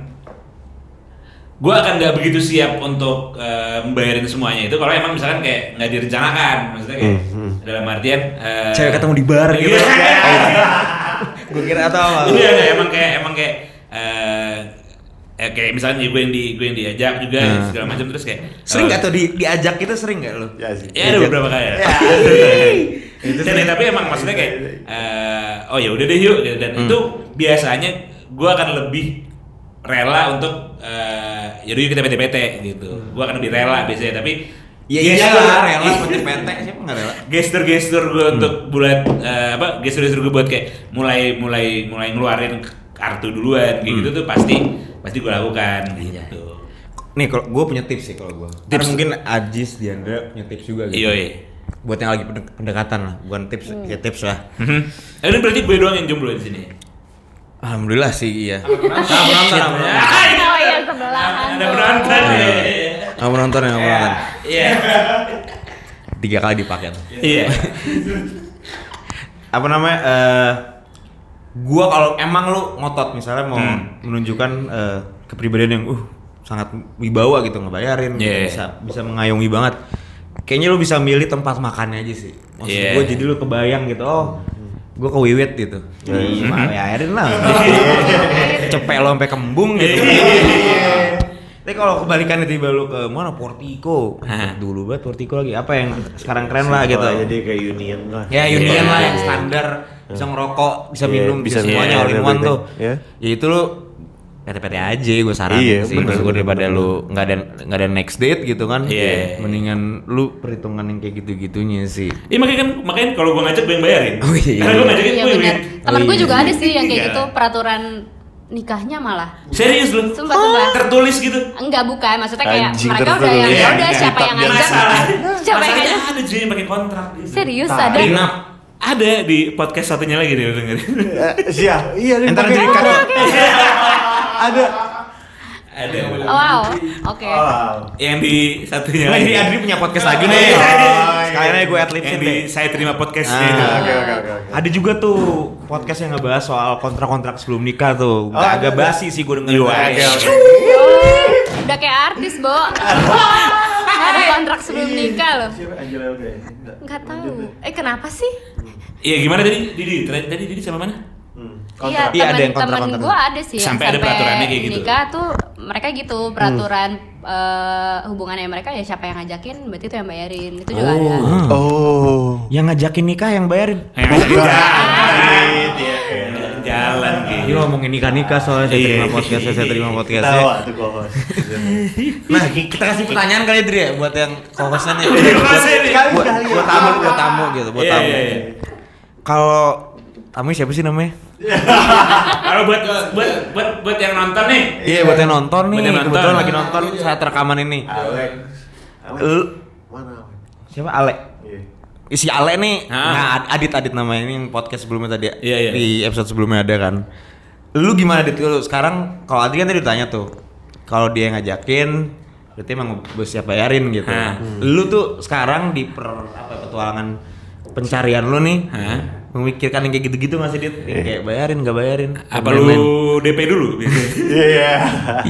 B: gue akan nggak begitu siap untuk eh, membayarin semuanya itu kalau emang misalkan kayak nggak direncanakan maksudnya kayak dalam artian eh,
A: Cewek ketemu di bar gitu.
B: Iya.
A: Gue kira atau apa?
B: Iya, enggak, emang kayak emang kayak eh eh, kayak misalnya gue yang di gue yang diajak juga
A: Hmm.
B: segala macam terus kayak
A: Sering
B: eh,
A: nggak tuh di, diajak itu sering nggak lo?
C: Ya sih.
B: Ya ada beberapa kali. Ya.
A: Itu
B: Dan-
A: sering. Iya,
B: tapi emang maksudnya kayak eh, oh ya udah deh yuk gitu. dan
A: Hmm.
B: itu biasanya gue akan lebih rela untuk eh yaudah yuk kita PT-PT gitu. Gue akan lebih rela biasanya tapi
A: Ya
B: gestur-
A: iyalah, rela PT PT siapa nggak rela?
B: gestur-gestur
A: Hmm.
B: gue untuk bulat eh, apa gestur-gestur gue buat kayak mulai mulai mulai ngeluarin kartu duluan
A: Hmm.
B: kayak gitu tuh pasti pasti gue lakukan
A: Iya.
B: gitu.
A: Nih kalau gue punya tips sih kalau gue. Tips mungkin Ajis Diandra punya tips juga gitu.
B: Iya. iya.
A: Buat yang lagi pendek- pendekatan lah, bukan tips, ya tips lah.
B: Mhm. Eh, Ini berarti gue doang yang jomblo di sini.
A: Alhamdulillah sih iya. Sama penonton, sama penonton.
E: Oh iya sebelahan.
B: Ada
E: tuh.
B: penonton.
A: Iya. Sama penonton, sama penonton.
B: Iya.
A: Tiga kali dipakai tuh.
B: Iya.
A: apa namanya eh gua kalau emang lu ngotot misalnya mau
B: Hmm.
A: menunjukkan eh, kepribadian yang uh sangat wibawa gitu ngebayarin gitu,
B: Yeah.
A: bisa bisa mengayomi banget kayaknya lu bisa milih tempat makannya aja sih maksud
B: Yeah.
A: gua jadi lu kebayang gitu oh gua ke Wiwit gitu
B: Mm-hmm.
A: hmm. bayarin lah cepet lo sampai kembung gitu tapi kalau kebalikannya tiba lu ke mana Portico
B: Hah.
A: dulu banget Portico lagi apa yang sekarang keren lah gitu
C: Jadi kayak union lah.
A: Ya union
B: Iya.
A: lah yang standar bisa ngerokok, bisa
C: Iya,
A: minum, bisa
D: bisa
A: semuanya
D: minum,
A: all in one
D: everything.
A: tuh.
D: Iya.
A: Ya itu lu PT-PT aja gue saranin
D: Iya,
A: sih.
D: bener,
A: Maksud gue
D: bener,
A: daripada
D: bener.
A: lu nggak ada nggak ada next date gitu kan.
B: Iya.
A: Mendingan lu perhitungan yang kayak gitu-gitunya sih.
B: Iya makanya kan makanya kalau gue ngajak gue yang bayarin.
A: Oh, iya.
B: Karena gue ngajakin
E: Iya
B: gue yang
E: benar.
B: bayarin.
E: Temen gue
A: Iya.
E: juga ada sih yang kayak
B: ya. Iya.
E: gitu peraturan nikahnya malah.
B: Serius lu?
E: Sumpah, sumpah.
B: Tertulis gitu.
E: Enggak bukan, maksudnya kayak
D: Anjing,
E: mereka udah
D: tertulis.
E: yang
B: Iya,
E: ya udah
B: iya.
E: siapa yang ngajak.
B: Masalah.
E: Siapa yang
B: Masalahnya
E: ngajak?
B: ada juga yang pakai kontrak gitu.
E: Serius
C: Tak.
E: ada.
A: Prenup.
B: Ada di podcast satunya lagi deh lu dengerin.
C: Iya, iya nih.
A: Entar
C: pakai-
A: jadi kado.
C: Ada.
B: ada.
E: Wow. Oke.
C: Oh.
B: Yang di satunya
A: Nah,
B: lagi.
A: ini Adri punya podcast lagi nih.
B: Iya.
A: Sekalian aja gue adlibsin
B: Yang di
A: deh.
B: saya terima Iya, podcastnya
A: Ah.
B: itu.
C: Oke, oke, oke. oke.
A: Ada juga tuh podcast yang ngebahas soal kontrak-kontrak sebelum nikah tuh. Nggak
C: Oh, ada,
A: agak
C: ada.
A: basi sih gue denger.
B: Iya,
C: Oke, oke.
A: Oh.
E: Udah kayak artis, Bo. Ada kontrak sebelum
C: Iya.
E: nikah loh.
C: Siapa Angela Elga ya? Enggak.
E: Enggak tahu. Eh kenapa sih?
B: Iya gimana tadi? Didi, tadi tadi Didi sama mana?
C: Hmm.
E: Iya,
C: Kontrak.
A: Iya, ada yang
E: temen-temen
A: kontrak-kontrak.
E: gue ada sih yang
B: Sampai ada peraturannya kayak gitu.
E: nikah tuh mereka gitu peraturan eh, hubungannya mereka ya siapa yang ngajakin berarti itu yang bayarin itu juga ada
C: ya.
A: Iya.
D: Oh.
A: Yang ngajakin nikah yang bayarin.
B: Eh, Jalan.
C: Duit, iya, iya.
B: Jalan
A: Ini
B: gitu.
A: ngomongin nikah nikah soalnya saya
B: Iya.
A: terima podcast saya terima podcast.
C: Tawa tuh kohos.
A: Nah kita kasih pertanyaan kali Dri ya buat yang kokosan ya.
C: Sekali
A: buat,
C: sekali.
A: buat tamu buat tamu gitu buat
B: Iya,
A: tamu.
B: iya, iya.
A: Kalau tamu siapa sih namanya?
B: Kalau buat buat buat buat yang nonton nih.
A: Iya buat yang nonton nih
B: Buat yang nonton.
A: kebetulan lagi nonton saat rekaman ini.
C: Alex. Alex.
A: Lu-
C: Mana Alex?
A: Siapa Ale?
C: Iya.
A: Isi Ale nih.
B: Hah?
A: Nah Ad- Adit Adit namanya ini yang podcast sebelumnya tadi
B: Iya, iya.
A: di episode sebelumnya ada kan. Lu gimana Dit lu sekarang kalau Adit kan tadi ditanya tuh kalau dia ngajakin berarti emang gue siap bayarin gitu.
B: Hah.
A: Lu tuh sekarang di per apa petualangan pencarian lu nih
B: Hah?
A: memikirkan yang kayak gitu-gitu masih dit Yang kayak bayarin nggak bayarin
B: Apa
A: dan lain-lain.
B: lu DP dulu biasanya?
C: Iya.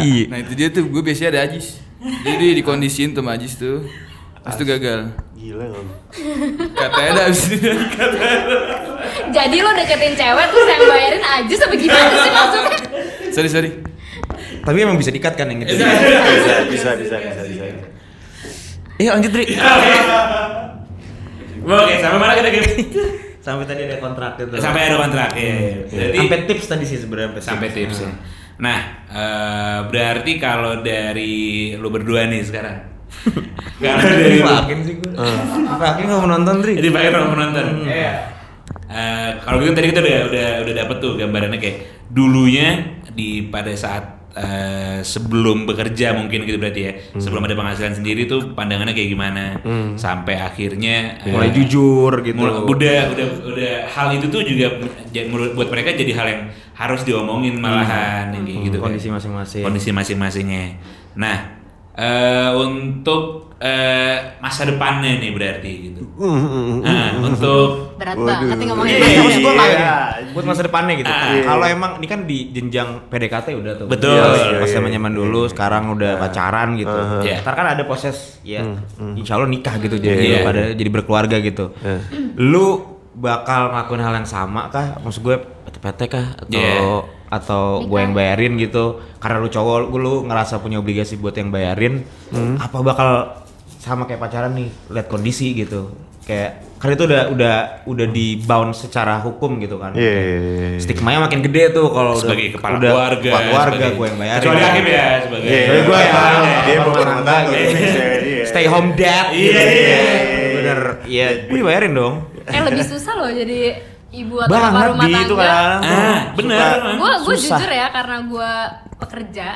A: iya
F: Nah itu dia tuh, gue biasanya ada Ajis Jadi dikondisiin tuh sama Ajis tuh Terus tuh gagal
C: Gila nggak lu?
F: Katanya ada abis itu
E: jadi lo deketin cewek terus yang bayarin aja sampai gimana sih maksudnya
F: Sorry, sorry
A: tapi emang bisa dikat kan yang gitu
C: Bisa, bisa, bisa, bisa, bisa.
A: iya lanjut Dri
B: Oke, sampai mana kita Gim?
A: sampai tadi ada kontrak itu
B: Sampai ada kontrak ya. Jadi
A: sampai tips tadi sih sebenarnya
B: sampai tips. ya. Nah, eh, berarti kalau dari lu berdua nih sekarang. Kalau dari
A: Eh.
B: lu
A: Dipakin sih gue Dipakin gak mau nonton Dri Iya.
B: Jadi pakai orang penonton. Eh Eh, kalau gitu tadi kita udah udah udah dapet tuh gambarannya kayak dulunya di pada saat eh, sebelum bekerja mungkin gitu berarti ya
A: Hmm.
B: sebelum ada penghasilan sendiri tuh pandangannya kayak gimana sampai akhirnya eh,
A: mulai jujur gitu
B: mul- udah udah udah hal itu tuh juga j- menurut buat mereka jadi hal yang harus diomongin malahan yang kayak gitu
A: Hmm. ya.
B: kan.
A: kondisi masing-masing
B: kondisi masing-masingnya. Nah eh, untuk eh, masa depannya nih berarti gitu.
A: Hmm,
B: Nah, untuk
E: Berat
C: Waduh.
E: banget nih ngomongin.
A: Iya, iya,
E: ini.
A: maksud gua nggak gini.
C: Iya.
A: buat masa depannya gitu.
B: Ah.
A: Nah, Kalau emang ini kan di jenjang PDKT udah tuh.
B: Betul.
A: Iya,
B: Iya,
A: Pas
C: iya,
A: zaman zaman dulu, sekarang udah pacaran gitu.
B: Iya.
A: Ntar kan ada proses ya, insya Allah nikah gitu. Jadi
B: Iya.
A: pada jadi berkeluarga gitu. Lu bakal ngelakuin hal yang sama kah? Maksud gue PT-PT kah? Atau
B: Iya.
A: atau gue
E: Nikah.
A: yang bayarin gitu? Karena lu cowok, lu- lu ngerasa punya obligasi buat yang bayarin. Apa bakal sama kayak pacaran nih? Lihat kondisi gitu. Kayak karena itu udah udah udah di bounce secara hukum gitu kan.
C: Iya, iya, iya, iya.
A: Stigmanya makin gede tuh kalau udah-
B: sebagai kepala
A: udah
B: keluarga,
A: kepala keluarga
B: sebagai-
A: gue yang bayarin.
B: kecuali hakim ya sebagai Ah,
C: Iya,
A: Jadi gue
C: Iya,
A: ya,
C: dia
A: apa
C: berumah
A: rumah
C: tangga,
A: tangga,
C: gitu.
A: gitu.
C: Iya.
A: Stay home dad.
B: Iya,
A: gitu.
B: iya,
C: iya.
A: Bener. Iya, gue dibayarin dong.
E: Eh lebih susah loh jadi ibu atau kepala
A: Banget
E: rumah
A: di itu
E: tangga.
A: kan.
B: ah benar
E: Gue gue
A: Susah.
E: jujur ya karena gue pekerja,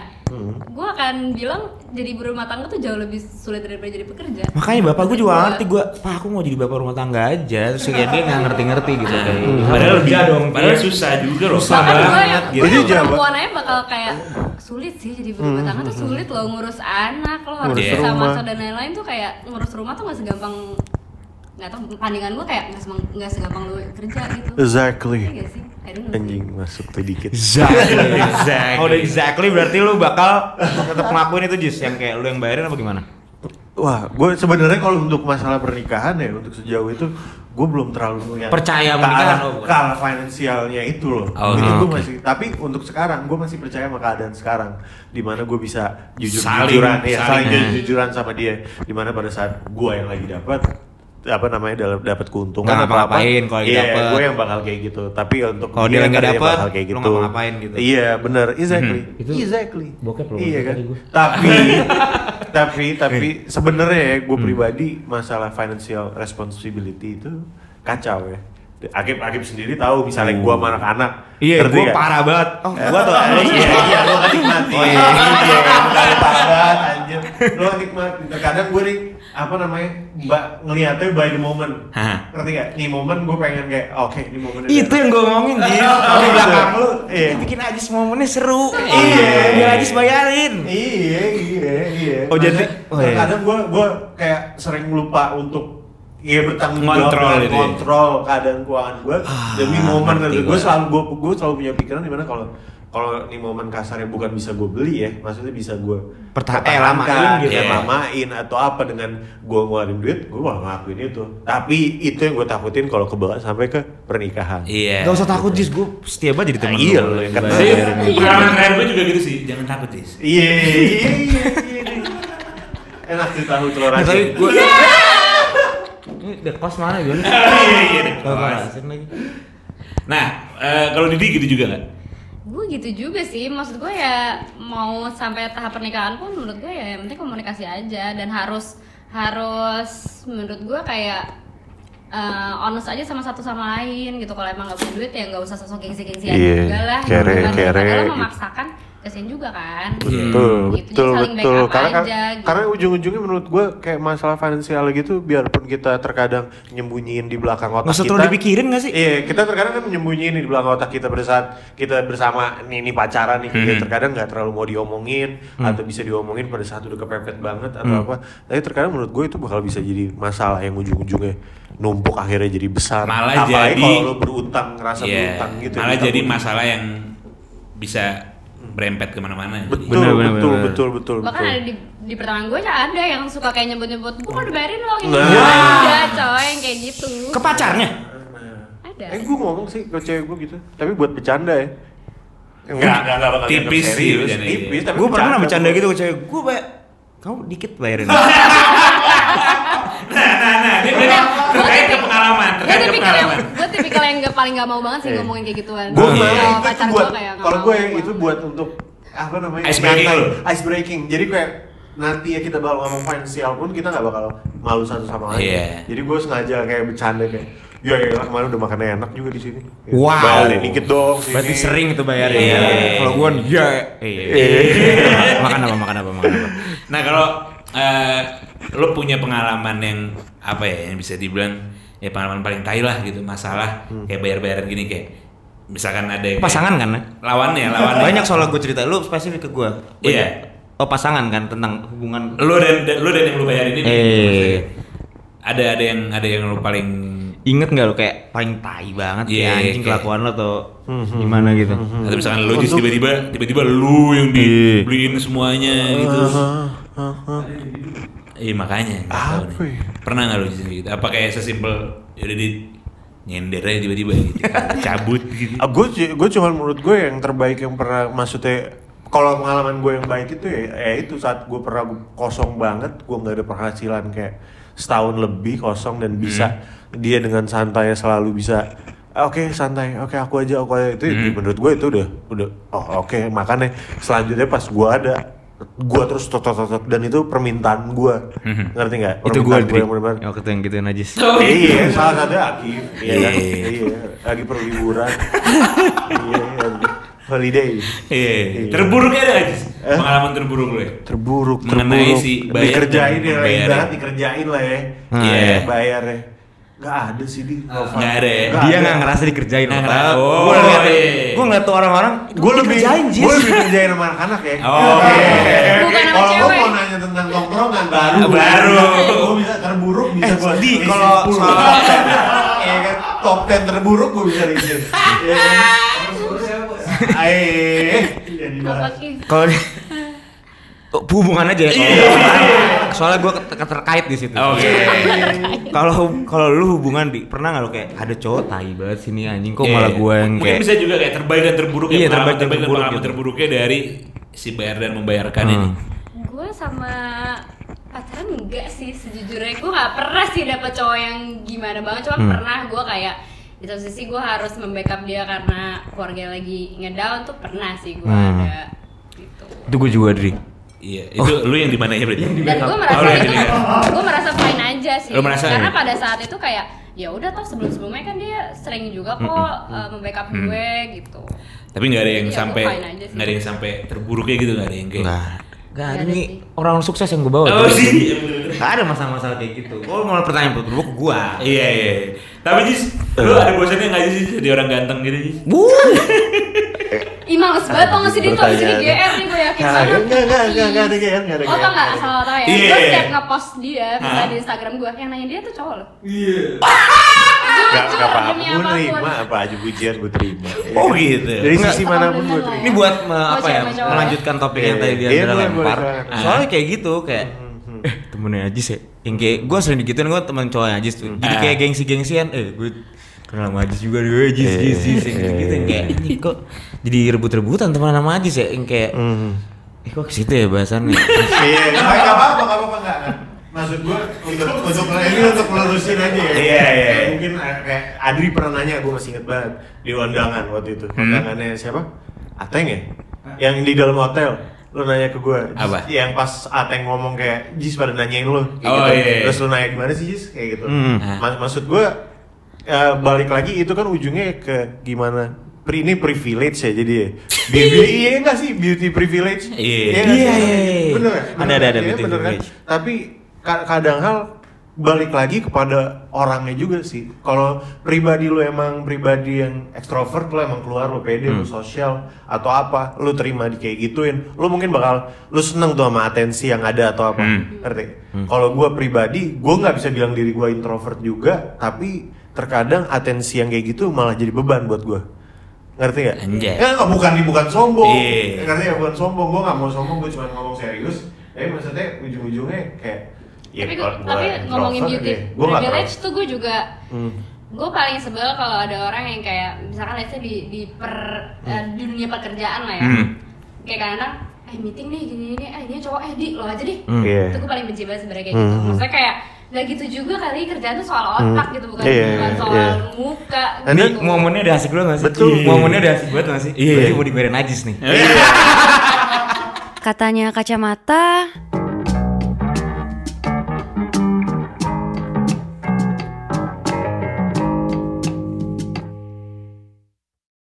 E: gue akan bilang jadi ibu rumah tangga tuh jauh lebih sulit daripada jadi pekerja.
A: Makanya bapak gue juga
E: Gua-
A: ngerti gue, pak aku mau jadi bapak rumah tangga aja. Terus kayak dia nggak ngerti-ngerti gitu. Kayak,
B: Ah. Hmm. padahal
A: kerja
B: lebih-
A: dong.
B: padahal
A: Pir.
B: susah juga loh
A: Susah
E: Bahkan gue
A: banget
E: yang,
A: gitu.
E: gua yang
C: Jadi jawa-
E: perempuan aja bakal kayak sulit sih jadi ibu rumah tangga tuh sulit loh ngurus anak lo harus
B: Ngurus
E: bisa
C: rumah.
E: masak dan lain-lain tuh kayak ngurus rumah tuh gak segampang nggak tau pandangan gue kayak nggak semang- nggak segampang lo kerja gitu. Iya
C: Exactly.
E: nggak sih? I don't know.
C: Anjing masuk tuh dikit.
A: Exactly.
B: Exactly.
A: Oh, udah exactly berarti lu bakal tetap ngelakuin itu Jis yang kayak lu yang bayarin apa gimana?
C: Wah, gue sebenarnya kalau untuk masalah pernikahan ya untuk sejauh itu gue belum terlalu melihat
A: Percaya
C: ke
A: pernikahan
C: arah,
A: lo, bukan?
C: ke arah finansialnya itu loh.
B: Oh,
C: itu
B: oke.
C: gue masih. Tapi untuk sekarang gue masih percaya sama keadaan sekarang, dimana gue bisa jujur
B: Saling-
C: jujuran, ya saling,
B: saling, ya.
C: jujuran sama dia, dimana pada saat gue yang lagi dapat apa namanya dalam dapat keuntungan
A: Nggak
C: apa apa
A: ngapa-ngapain kalau lagi
C: iya
A: dapet.
C: gue yang bakal kayak gitu tapi untuk
A: Kalau dia nggak
C: ntar
A: dapet,
C: bakal
A: lu
C: kayak gitu
A: nggak ngapa-ngapain gitu.
C: iya bener exactly
A: Hmm. Itu
C: exactly
A: bokep lu,
C: iya
A: bokep
C: kan
A: tadi gua.
C: tapi tapi tapi
A: Eh.
C: sebenarnya ya gue
A: Hmm.
C: pribadi masalah financial responsibility itu kacau ya Akib Akib sendiri tahu misalnya gue sama
A: Oh.
C: anak-anak
A: Iya,
C: ngerti
A: gue
C: nggak?
A: parah banget. Oh, gue tuh.
C: iya iya lo kan nikmati
A: Oh,
C: oh,
A: iya.
C: iya iya bukan parah banget anjir lo nikmati terkadang gue nih apa namanya mbak ngeliatnya by the moment
B: Hah.
C: ngerti gak nih momen gue pengen kayak oke ini momennya
A: Itu yang gue ngomongin Jis. Di
C: Iya.
A: belakang lu,
C: Iya.
A: itu bikin Ajis momennya seru.
C: Iya.
A: Biar Ajis bayarin.
C: Iya, iya, iya.
A: Oh, jadi- oh, iya.
C: kadang gue gue kayak sering lupa untuk Iya bertanggung jawab
B: Ngontrol
C: dengan
B: gitu ya.
C: kontrol keadaan keuangan gue
A: Ah,
C: demi momen
B: ngerti
C: gue
B: gua.
C: selalu gue gue selalu punya pikiran dimana kalau kalau ini momen kasarnya bukan bisa gue beli ya maksudnya bisa gue
A: Pertahan- eh, lamain gitu.
C: ya,
B: Iya.
C: lamain atau apa dengan gue ngeluarin duit gue malah ngelakuin itu tapi itu yang gue takutin kalau kebawa sampai ke pernikahan
B: iya
A: Gak usah takut Jis, gue setia banget jadi temen
C: Ah, iya,
A: lu.
C: lu yang kata.
B: Sih,
A: Bayarin.
B: pengalaman terakhir gue juga gitu sih jangan takut Jis
C: Iya, iya, iya, iya. Enak sih tahu telur
A: Nah,
C: asin.
A: tapi gue... Ini The Cost mana gue?
B: Iya, iya, The
A: Gak
B: Cost.
A: merasin lagi.
B: nah eh, kalau Didi gitu juga nggak
E: Gue gitu juga sih, maksud gue ya mau sampai tahap pernikahan pun menurut gue ya yang penting komunikasi aja dan harus harus menurut gue kayak eh, honest aja sama satu sama lain gitu kalau emang gak punya duit ya nggak usah sosok gengsi gengsian
C: Iya,
E: juga lah
C: kere-
E: gitu kan.
C: kere
E: Padahal
C: gitu.
E: memaksakan kesian juga kan
C: betul
E: Gitu, jadi
C: betul
E: saling
C: betul
E: backup
C: karena kan-
E: aja, gitu.
C: karena ujung-ujungnya menurut gue kayak masalah finansial gitu biarpun kita terkadang nyembunyiin di belakang otak
A: Nggak usah
C: kita
A: terlalu dipikirin nggak sih?
C: iya kita terkadang kan nyembunyiin di belakang otak kita pada saat kita bersama nih ini pacaran nih kita terkadang nggak terlalu mau diomongin atau bisa diomongin pada saat udah kepepet banget atau apa tapi terkadang menurut gue itu bakal bisa jadi masalah yang ujung-ujungnya numpuk akhirnya jadi besar
B: Malah jadi-
C: apalagi kalau lo berutang ngerasa
B: Iya.
C: berutang
A: ya,
C: gitu
B: malah
C: kita
B: jadi
C: utang.
B: masalah yang bisa berempet kemana-mana
C: betul,
A: Bener, bener,
C: betul,
A: bener.
C: betul betul
E: bahkan
C: betul.
E: ada di di pertemanan gue ya ada yang suka kayak nyebut nyebut gue udah bayarin lo gitu
C: Nah.
E: ada coy yang kayak gitu
A: Ke pacarnya?
E: ada
C: Eh gue ngomong sih ke cewek gue gitu, tapi buat bercanda ya.
B: Enggak, enggak, enggak bakal dianggap
C: Tipis sih,
B: serius. Iya,
C: bercanda.
B: Tipis,
C: tapi
A: Gue pernah bercanda gitu ke cewek, gue bayar... Kamu dikit bayarin.
B: nah nah ini terkait ke pengalaman
E: gue
B: terkait ke
E: tipikal yang Iya.
B: pengalaman
E: gue tipikal yang gak paling gak mau banget sih ngomongin kayak gituan
C: Gue
E: Kalau
C: malah itu
E: pacar
C: tuh
E: gua
C: buat,
E: kayak nggak mau
C: kalau
E: ya.
C: gue
E: banget.
C: itu buat untuk apa namanya?
B: Ice breaking
C: nyantai,
B: lo.
C: Ice breaking. Jadi kayak nanti ya kita bakal ngomong finansial pun kita nggak bakal malu satu sama lain.
B: Iya.
C: Jadi gue sengaja kayak bercanda kayak Ya ya lah, kemarin udah makannya enak juga di sini. Ya,
A: Wow.
C: Bayarin dikit dong. sini.
A: Berarti sering tuh bayarin ya.
B: Iya.
A: Kalau gua ya. Iya. Makan apa makan apa makan apa.
B: Nah kalau eh, lo punya pengalaman yang apa ya yang bisa dibilang ya pengalaman paling tai lah gitu masalah kayak bayar-bayaran gini kayak misalkan ada yang
A: Hmm. Pasangan kan? ya?
B: lawannya lawannya
A: Banyak soalnya gue cerita. Lu spesifik ke gue.
B: Iya.
A: Oh pasangan kan tentang hubungan.
B: lo dan, dan- lo dan yang lo bayarin ini
A: Eh.
B: ada ada yang ada yang lo paling
A: Ingat nggak lu kayak paling tai banget ya
B: Iya, iya,
A: anjing
B: kayak-
A: kelakuan lo atau
C: Mhm.
A: gimana gitu.
B: atau misalkan lo just tiba-tiba tiba-tiba lo yang
A: Iya.
B: dibeliin semuanya gitu
A: Uh-huh.
B: Iya makanya nggak tahu
C: Apa
B: nih.
C: ya?
B: Pernah nggak lu jadi gitu? Apa kayak sesimpel yaudah di nyender aja tiba-tiba gitu, cabut gitu.
C: gue gue cuma menurut gue yang terbaik yang pernah maksudnya kalau pengalaman gue yang baik itu ya, ya itu saat gue pernah gua kosong banget gue nggak ada penghasilan kayak setahun lebih kosong dan bisa dia dengan santainya selalu bisa "Ah, oke santai oke aku aja aku aja itu itu menurut gue itu udah udah oh oke makanya selanjutnya pas gue ada gue terus tot tot tot, tot, dan itu permintaan gue ngerti nggak
A: Itu gue
C: Permintaan
A: drik.
C: yang bener-bener
A: Waktu itu yang gitu najis.
B: Oh,
C: Iya, salah satu Akif. Iya, kan?
B: Iya.
C: iya. Lagi perliburan. Iya, lagi holiday.
B: Iya. Terburuknya ada aja.
A: Eh?
B: Pengalaman terburuk lo ya.
C: Terburuk,
B: Mengenai
C: terburuk.
B: si bayar
C: dikerjain
B: dan
C: ya,
B: membayar.
C: ibarat dikerjain lah ya.
A: Ah,
B: iya.
C: bayarnya. Gak ada sih di Nova.
B: nggak ada ya?
A: Dia nggak ngerasa dikerjain
B: Nggak
A: otak.
B: ngerasa.
A: Gua
B: Oh,
A: ngeliat-
B: iya.
A: Gua ngeliat tuh orang-orang.
C: Gue lebih
A: dikerjain, Jis.
C: gue lebih kerjain sama anak-anak ya.
B: Oh,
C: Oke.
E: Bukan sama
C: Kalau gue
E: cewek.
C: mau nanya tentang tongkrongan baru.
B: Baru.
C: Gue bisa terburuk bisa
A: Eh,
C: gue.
A: di, kalau soal-
C: Iya kan, top 10 terburuk gue bisa review. Iya kan? Aih, jadi bahas.
A: Kalau di- Oh, hubungan aja ya. kalau- Soalnya gue terkait di situ.
B: Iya. Ah, Oke.
A: Kalau kalau lu hubungan di pernah nggak lu kayak ada cowok tai banget sini anjing kok
B: Iya.
A: malah gue yang
B: Mungkin
A: kayak
B: bisa juga kayak terbaik dan terburuk
A: Iya,
B: ya. pengalaman
A: terbaik dan
B: terbaik dan
A: terburuk
B: pengalaman
A: gitu.
B: terburuknya dari si bayar dan membayarkan
A: Hmm.
B: ini.
E: gue sama pacaran enggak sih sejujurnya gue nggak pernah sih dapet cowok yang gimana banget cuma
A: Hmm.
E: pernah gue kayak di satu sisi gue harus membackup dia karena keluarga lagi ngedown tuh pernah sih gue
A: Hmm.
E: ada gitu
A: itu gue juga dri.
B: Iya, itu
A: Oh.
B: lu yang di mana ya berarti?
E: dan gue merasa
B: Oh, lu yang di
E: itu
B: backup.
E: gue merasa fine aja sih
B: Lu merasa
E: karena
B: ya?
E: pada saat itu kayak ya udah toh sebelum sebelumnya kan dia sering juga kok uh, membackup gue gitu
B: Tapi nggak ada yang
E: Iya,
B: sampai
E: fine aja sih.
B: nggak ada yang sampai terburuknya gitu nggak ada yang kayak.
A: Enggak. Gak Iya. ada
E: Nggak ada
A: nih
E: sih.
A: orang sukses yang gue bawa.
B: Oh,
A: Dri.
B: sih.
A: Nggak ada masalah-masalah kayak gitu. Kalau mau pertanyaan berbuk gue.
B: Iya iya. iya. Tapi Jis, lu ada bosannya nggak sih Jis, jadi orang ganteng gitu Jis?
E: Ih males banget tau gak sih dia tuh abis ini GR nih gue yakin
C: Nggak,
E: banget
C: nggak, nggak, nggak, nggak ada GR, nggak ada
E: Oh
C: GR.
E: tau gak salah tau ya
B: Iya.
E: Gue setiap ngepost dia misalnya
B: Hah? Iya.
E: di Instagram gue Yang nanya dia tuh cowok loh
C: Gak,
E: Jujur,
C: gak apa-apa,
E: demi
C: gue
E: apapun.
C: terima apa aja pujian gue terima Iya
B: Oh,
C: kan?
B: gitu.
C: Dari sisi
E: Nggak.
C: manapun gue
E: Alhamdulillah.
A: Ini
C: terima
A: buat me-
E: Mau
A: apa ya
E: cewek, cowok.
A: melanjutkan topik yang tadi dia
C: Iya,
A: udah
C: boleh,
A: lempar.
C: boleh, boleh. Hmm,
A: Soalnya kayak gitu kayak eh temennya Ajis ya yang kayak gue sering digituin gue temen cowoknya Ajis tuh jadi
C: Hmm.
B: Ah.
A: kayak gengsi-gengsian eh gue kenal sama Ajis juga eh, gue Ajis
C: Eh.
A: Ajis Ajis yang gitu gitu yang kayak ini kok jadi rebut-rebutan teman sama Ajis ya yang kayak
C: Hmm,
A: eh kok ke situ ya bahasannya
C: Iya, nggak nggak apa-apa, nggak apa-apa, nggak nggak. Maksud gue untuk untuk ini untuk melurusin aja ya.
B: Iya, iya.
C: Kayak Mungkin eh, kayak Adri pernah nanya, gue masih inget banget di undangan waktu itu.
B: Hmm.
C: Undangannya siapa? Ateng ya? Yang di dalam hotel lu nanya ke gue
B: Apa?
C: yang pas Ateng ngomong kayak Jis pada nanyain lu kayak
B: Oh,
C: gitu.
B: iya, iya.
C: terus lu nanya gimana sih Jis kayak gitu
A: Hmm.
C: Mas- maksud gue eh, balik lagi itu kan ujungnya ke gimana Pri- ini privilege ya jadi ya. Beauty, iya enggak sih beauty privilege
B: Iya.
C: nggak sih?
A: Iya, iya, iya.
C: Bener ya?
A: Ada, ada, ada
C: Iya,
A: beauty
C: bener kan?
A: privilege.
C: Tapi ka- kadang hal balik lagi kepada orangnya juga sih. Kalau pribadi lu emang pribadi yang ekstrovert, lu emang keluar, lu pede, lu sosial atau apa, lu terima di kayak gituin, lu mungkin bakal lu seneng tuh sama atensi yang ada atau apa, ngerti? Kalau gua pribadi, gua nggak bisa bilang diri gua introvert juga, tapi terkadang atensi yang kayak gitu malah jadi beban buat gua ngerti gak?
B: Anjay.
C: Ya, nggak, bukan bukan sombong,
B: Iya.
C: ngerti ya bukan sombong, gue nggak mau sombong, gue cuma ngomong serius. Tapi maksudnya ujung-ujungnya kayak ya, Iya,
E: Tapi, gua- tapi ngomongin beauty
C: gue
E: privilege
C: nggak terlalu- Hmm.
E: tuh gue juga Gue paling sebel kalau ada orang yang kayak Misalkan let's say di, di, per, eh,
C: Hmm.
E: di dunia pekerjaan lah ya
B: Hmm.
E: Kayak kadang Eh meeting nih gini gini Eh dia cowok eh di lo aja deh
A: Hmm.
C: Iya.
E: Itu gue paling benci banget sebenarnya kayak
C: Hmm.
E: gitu Maksudnya kayak Gak gitu juga kali kerjaan tuh soal otak
C: Hmm.
E: gitu Bukan,
C: Iya,
E: bukan
C: iya,
E: soal
C: iya.
E: muka gitu.
C: Ini
A: ini momennya udah asik banget gak sih?
C: Betul.
A: momennya udah asik banget gak sih?
B: Iya.
A: Berarti mau dibayarin Ajis nih
E: Katanya kacamata,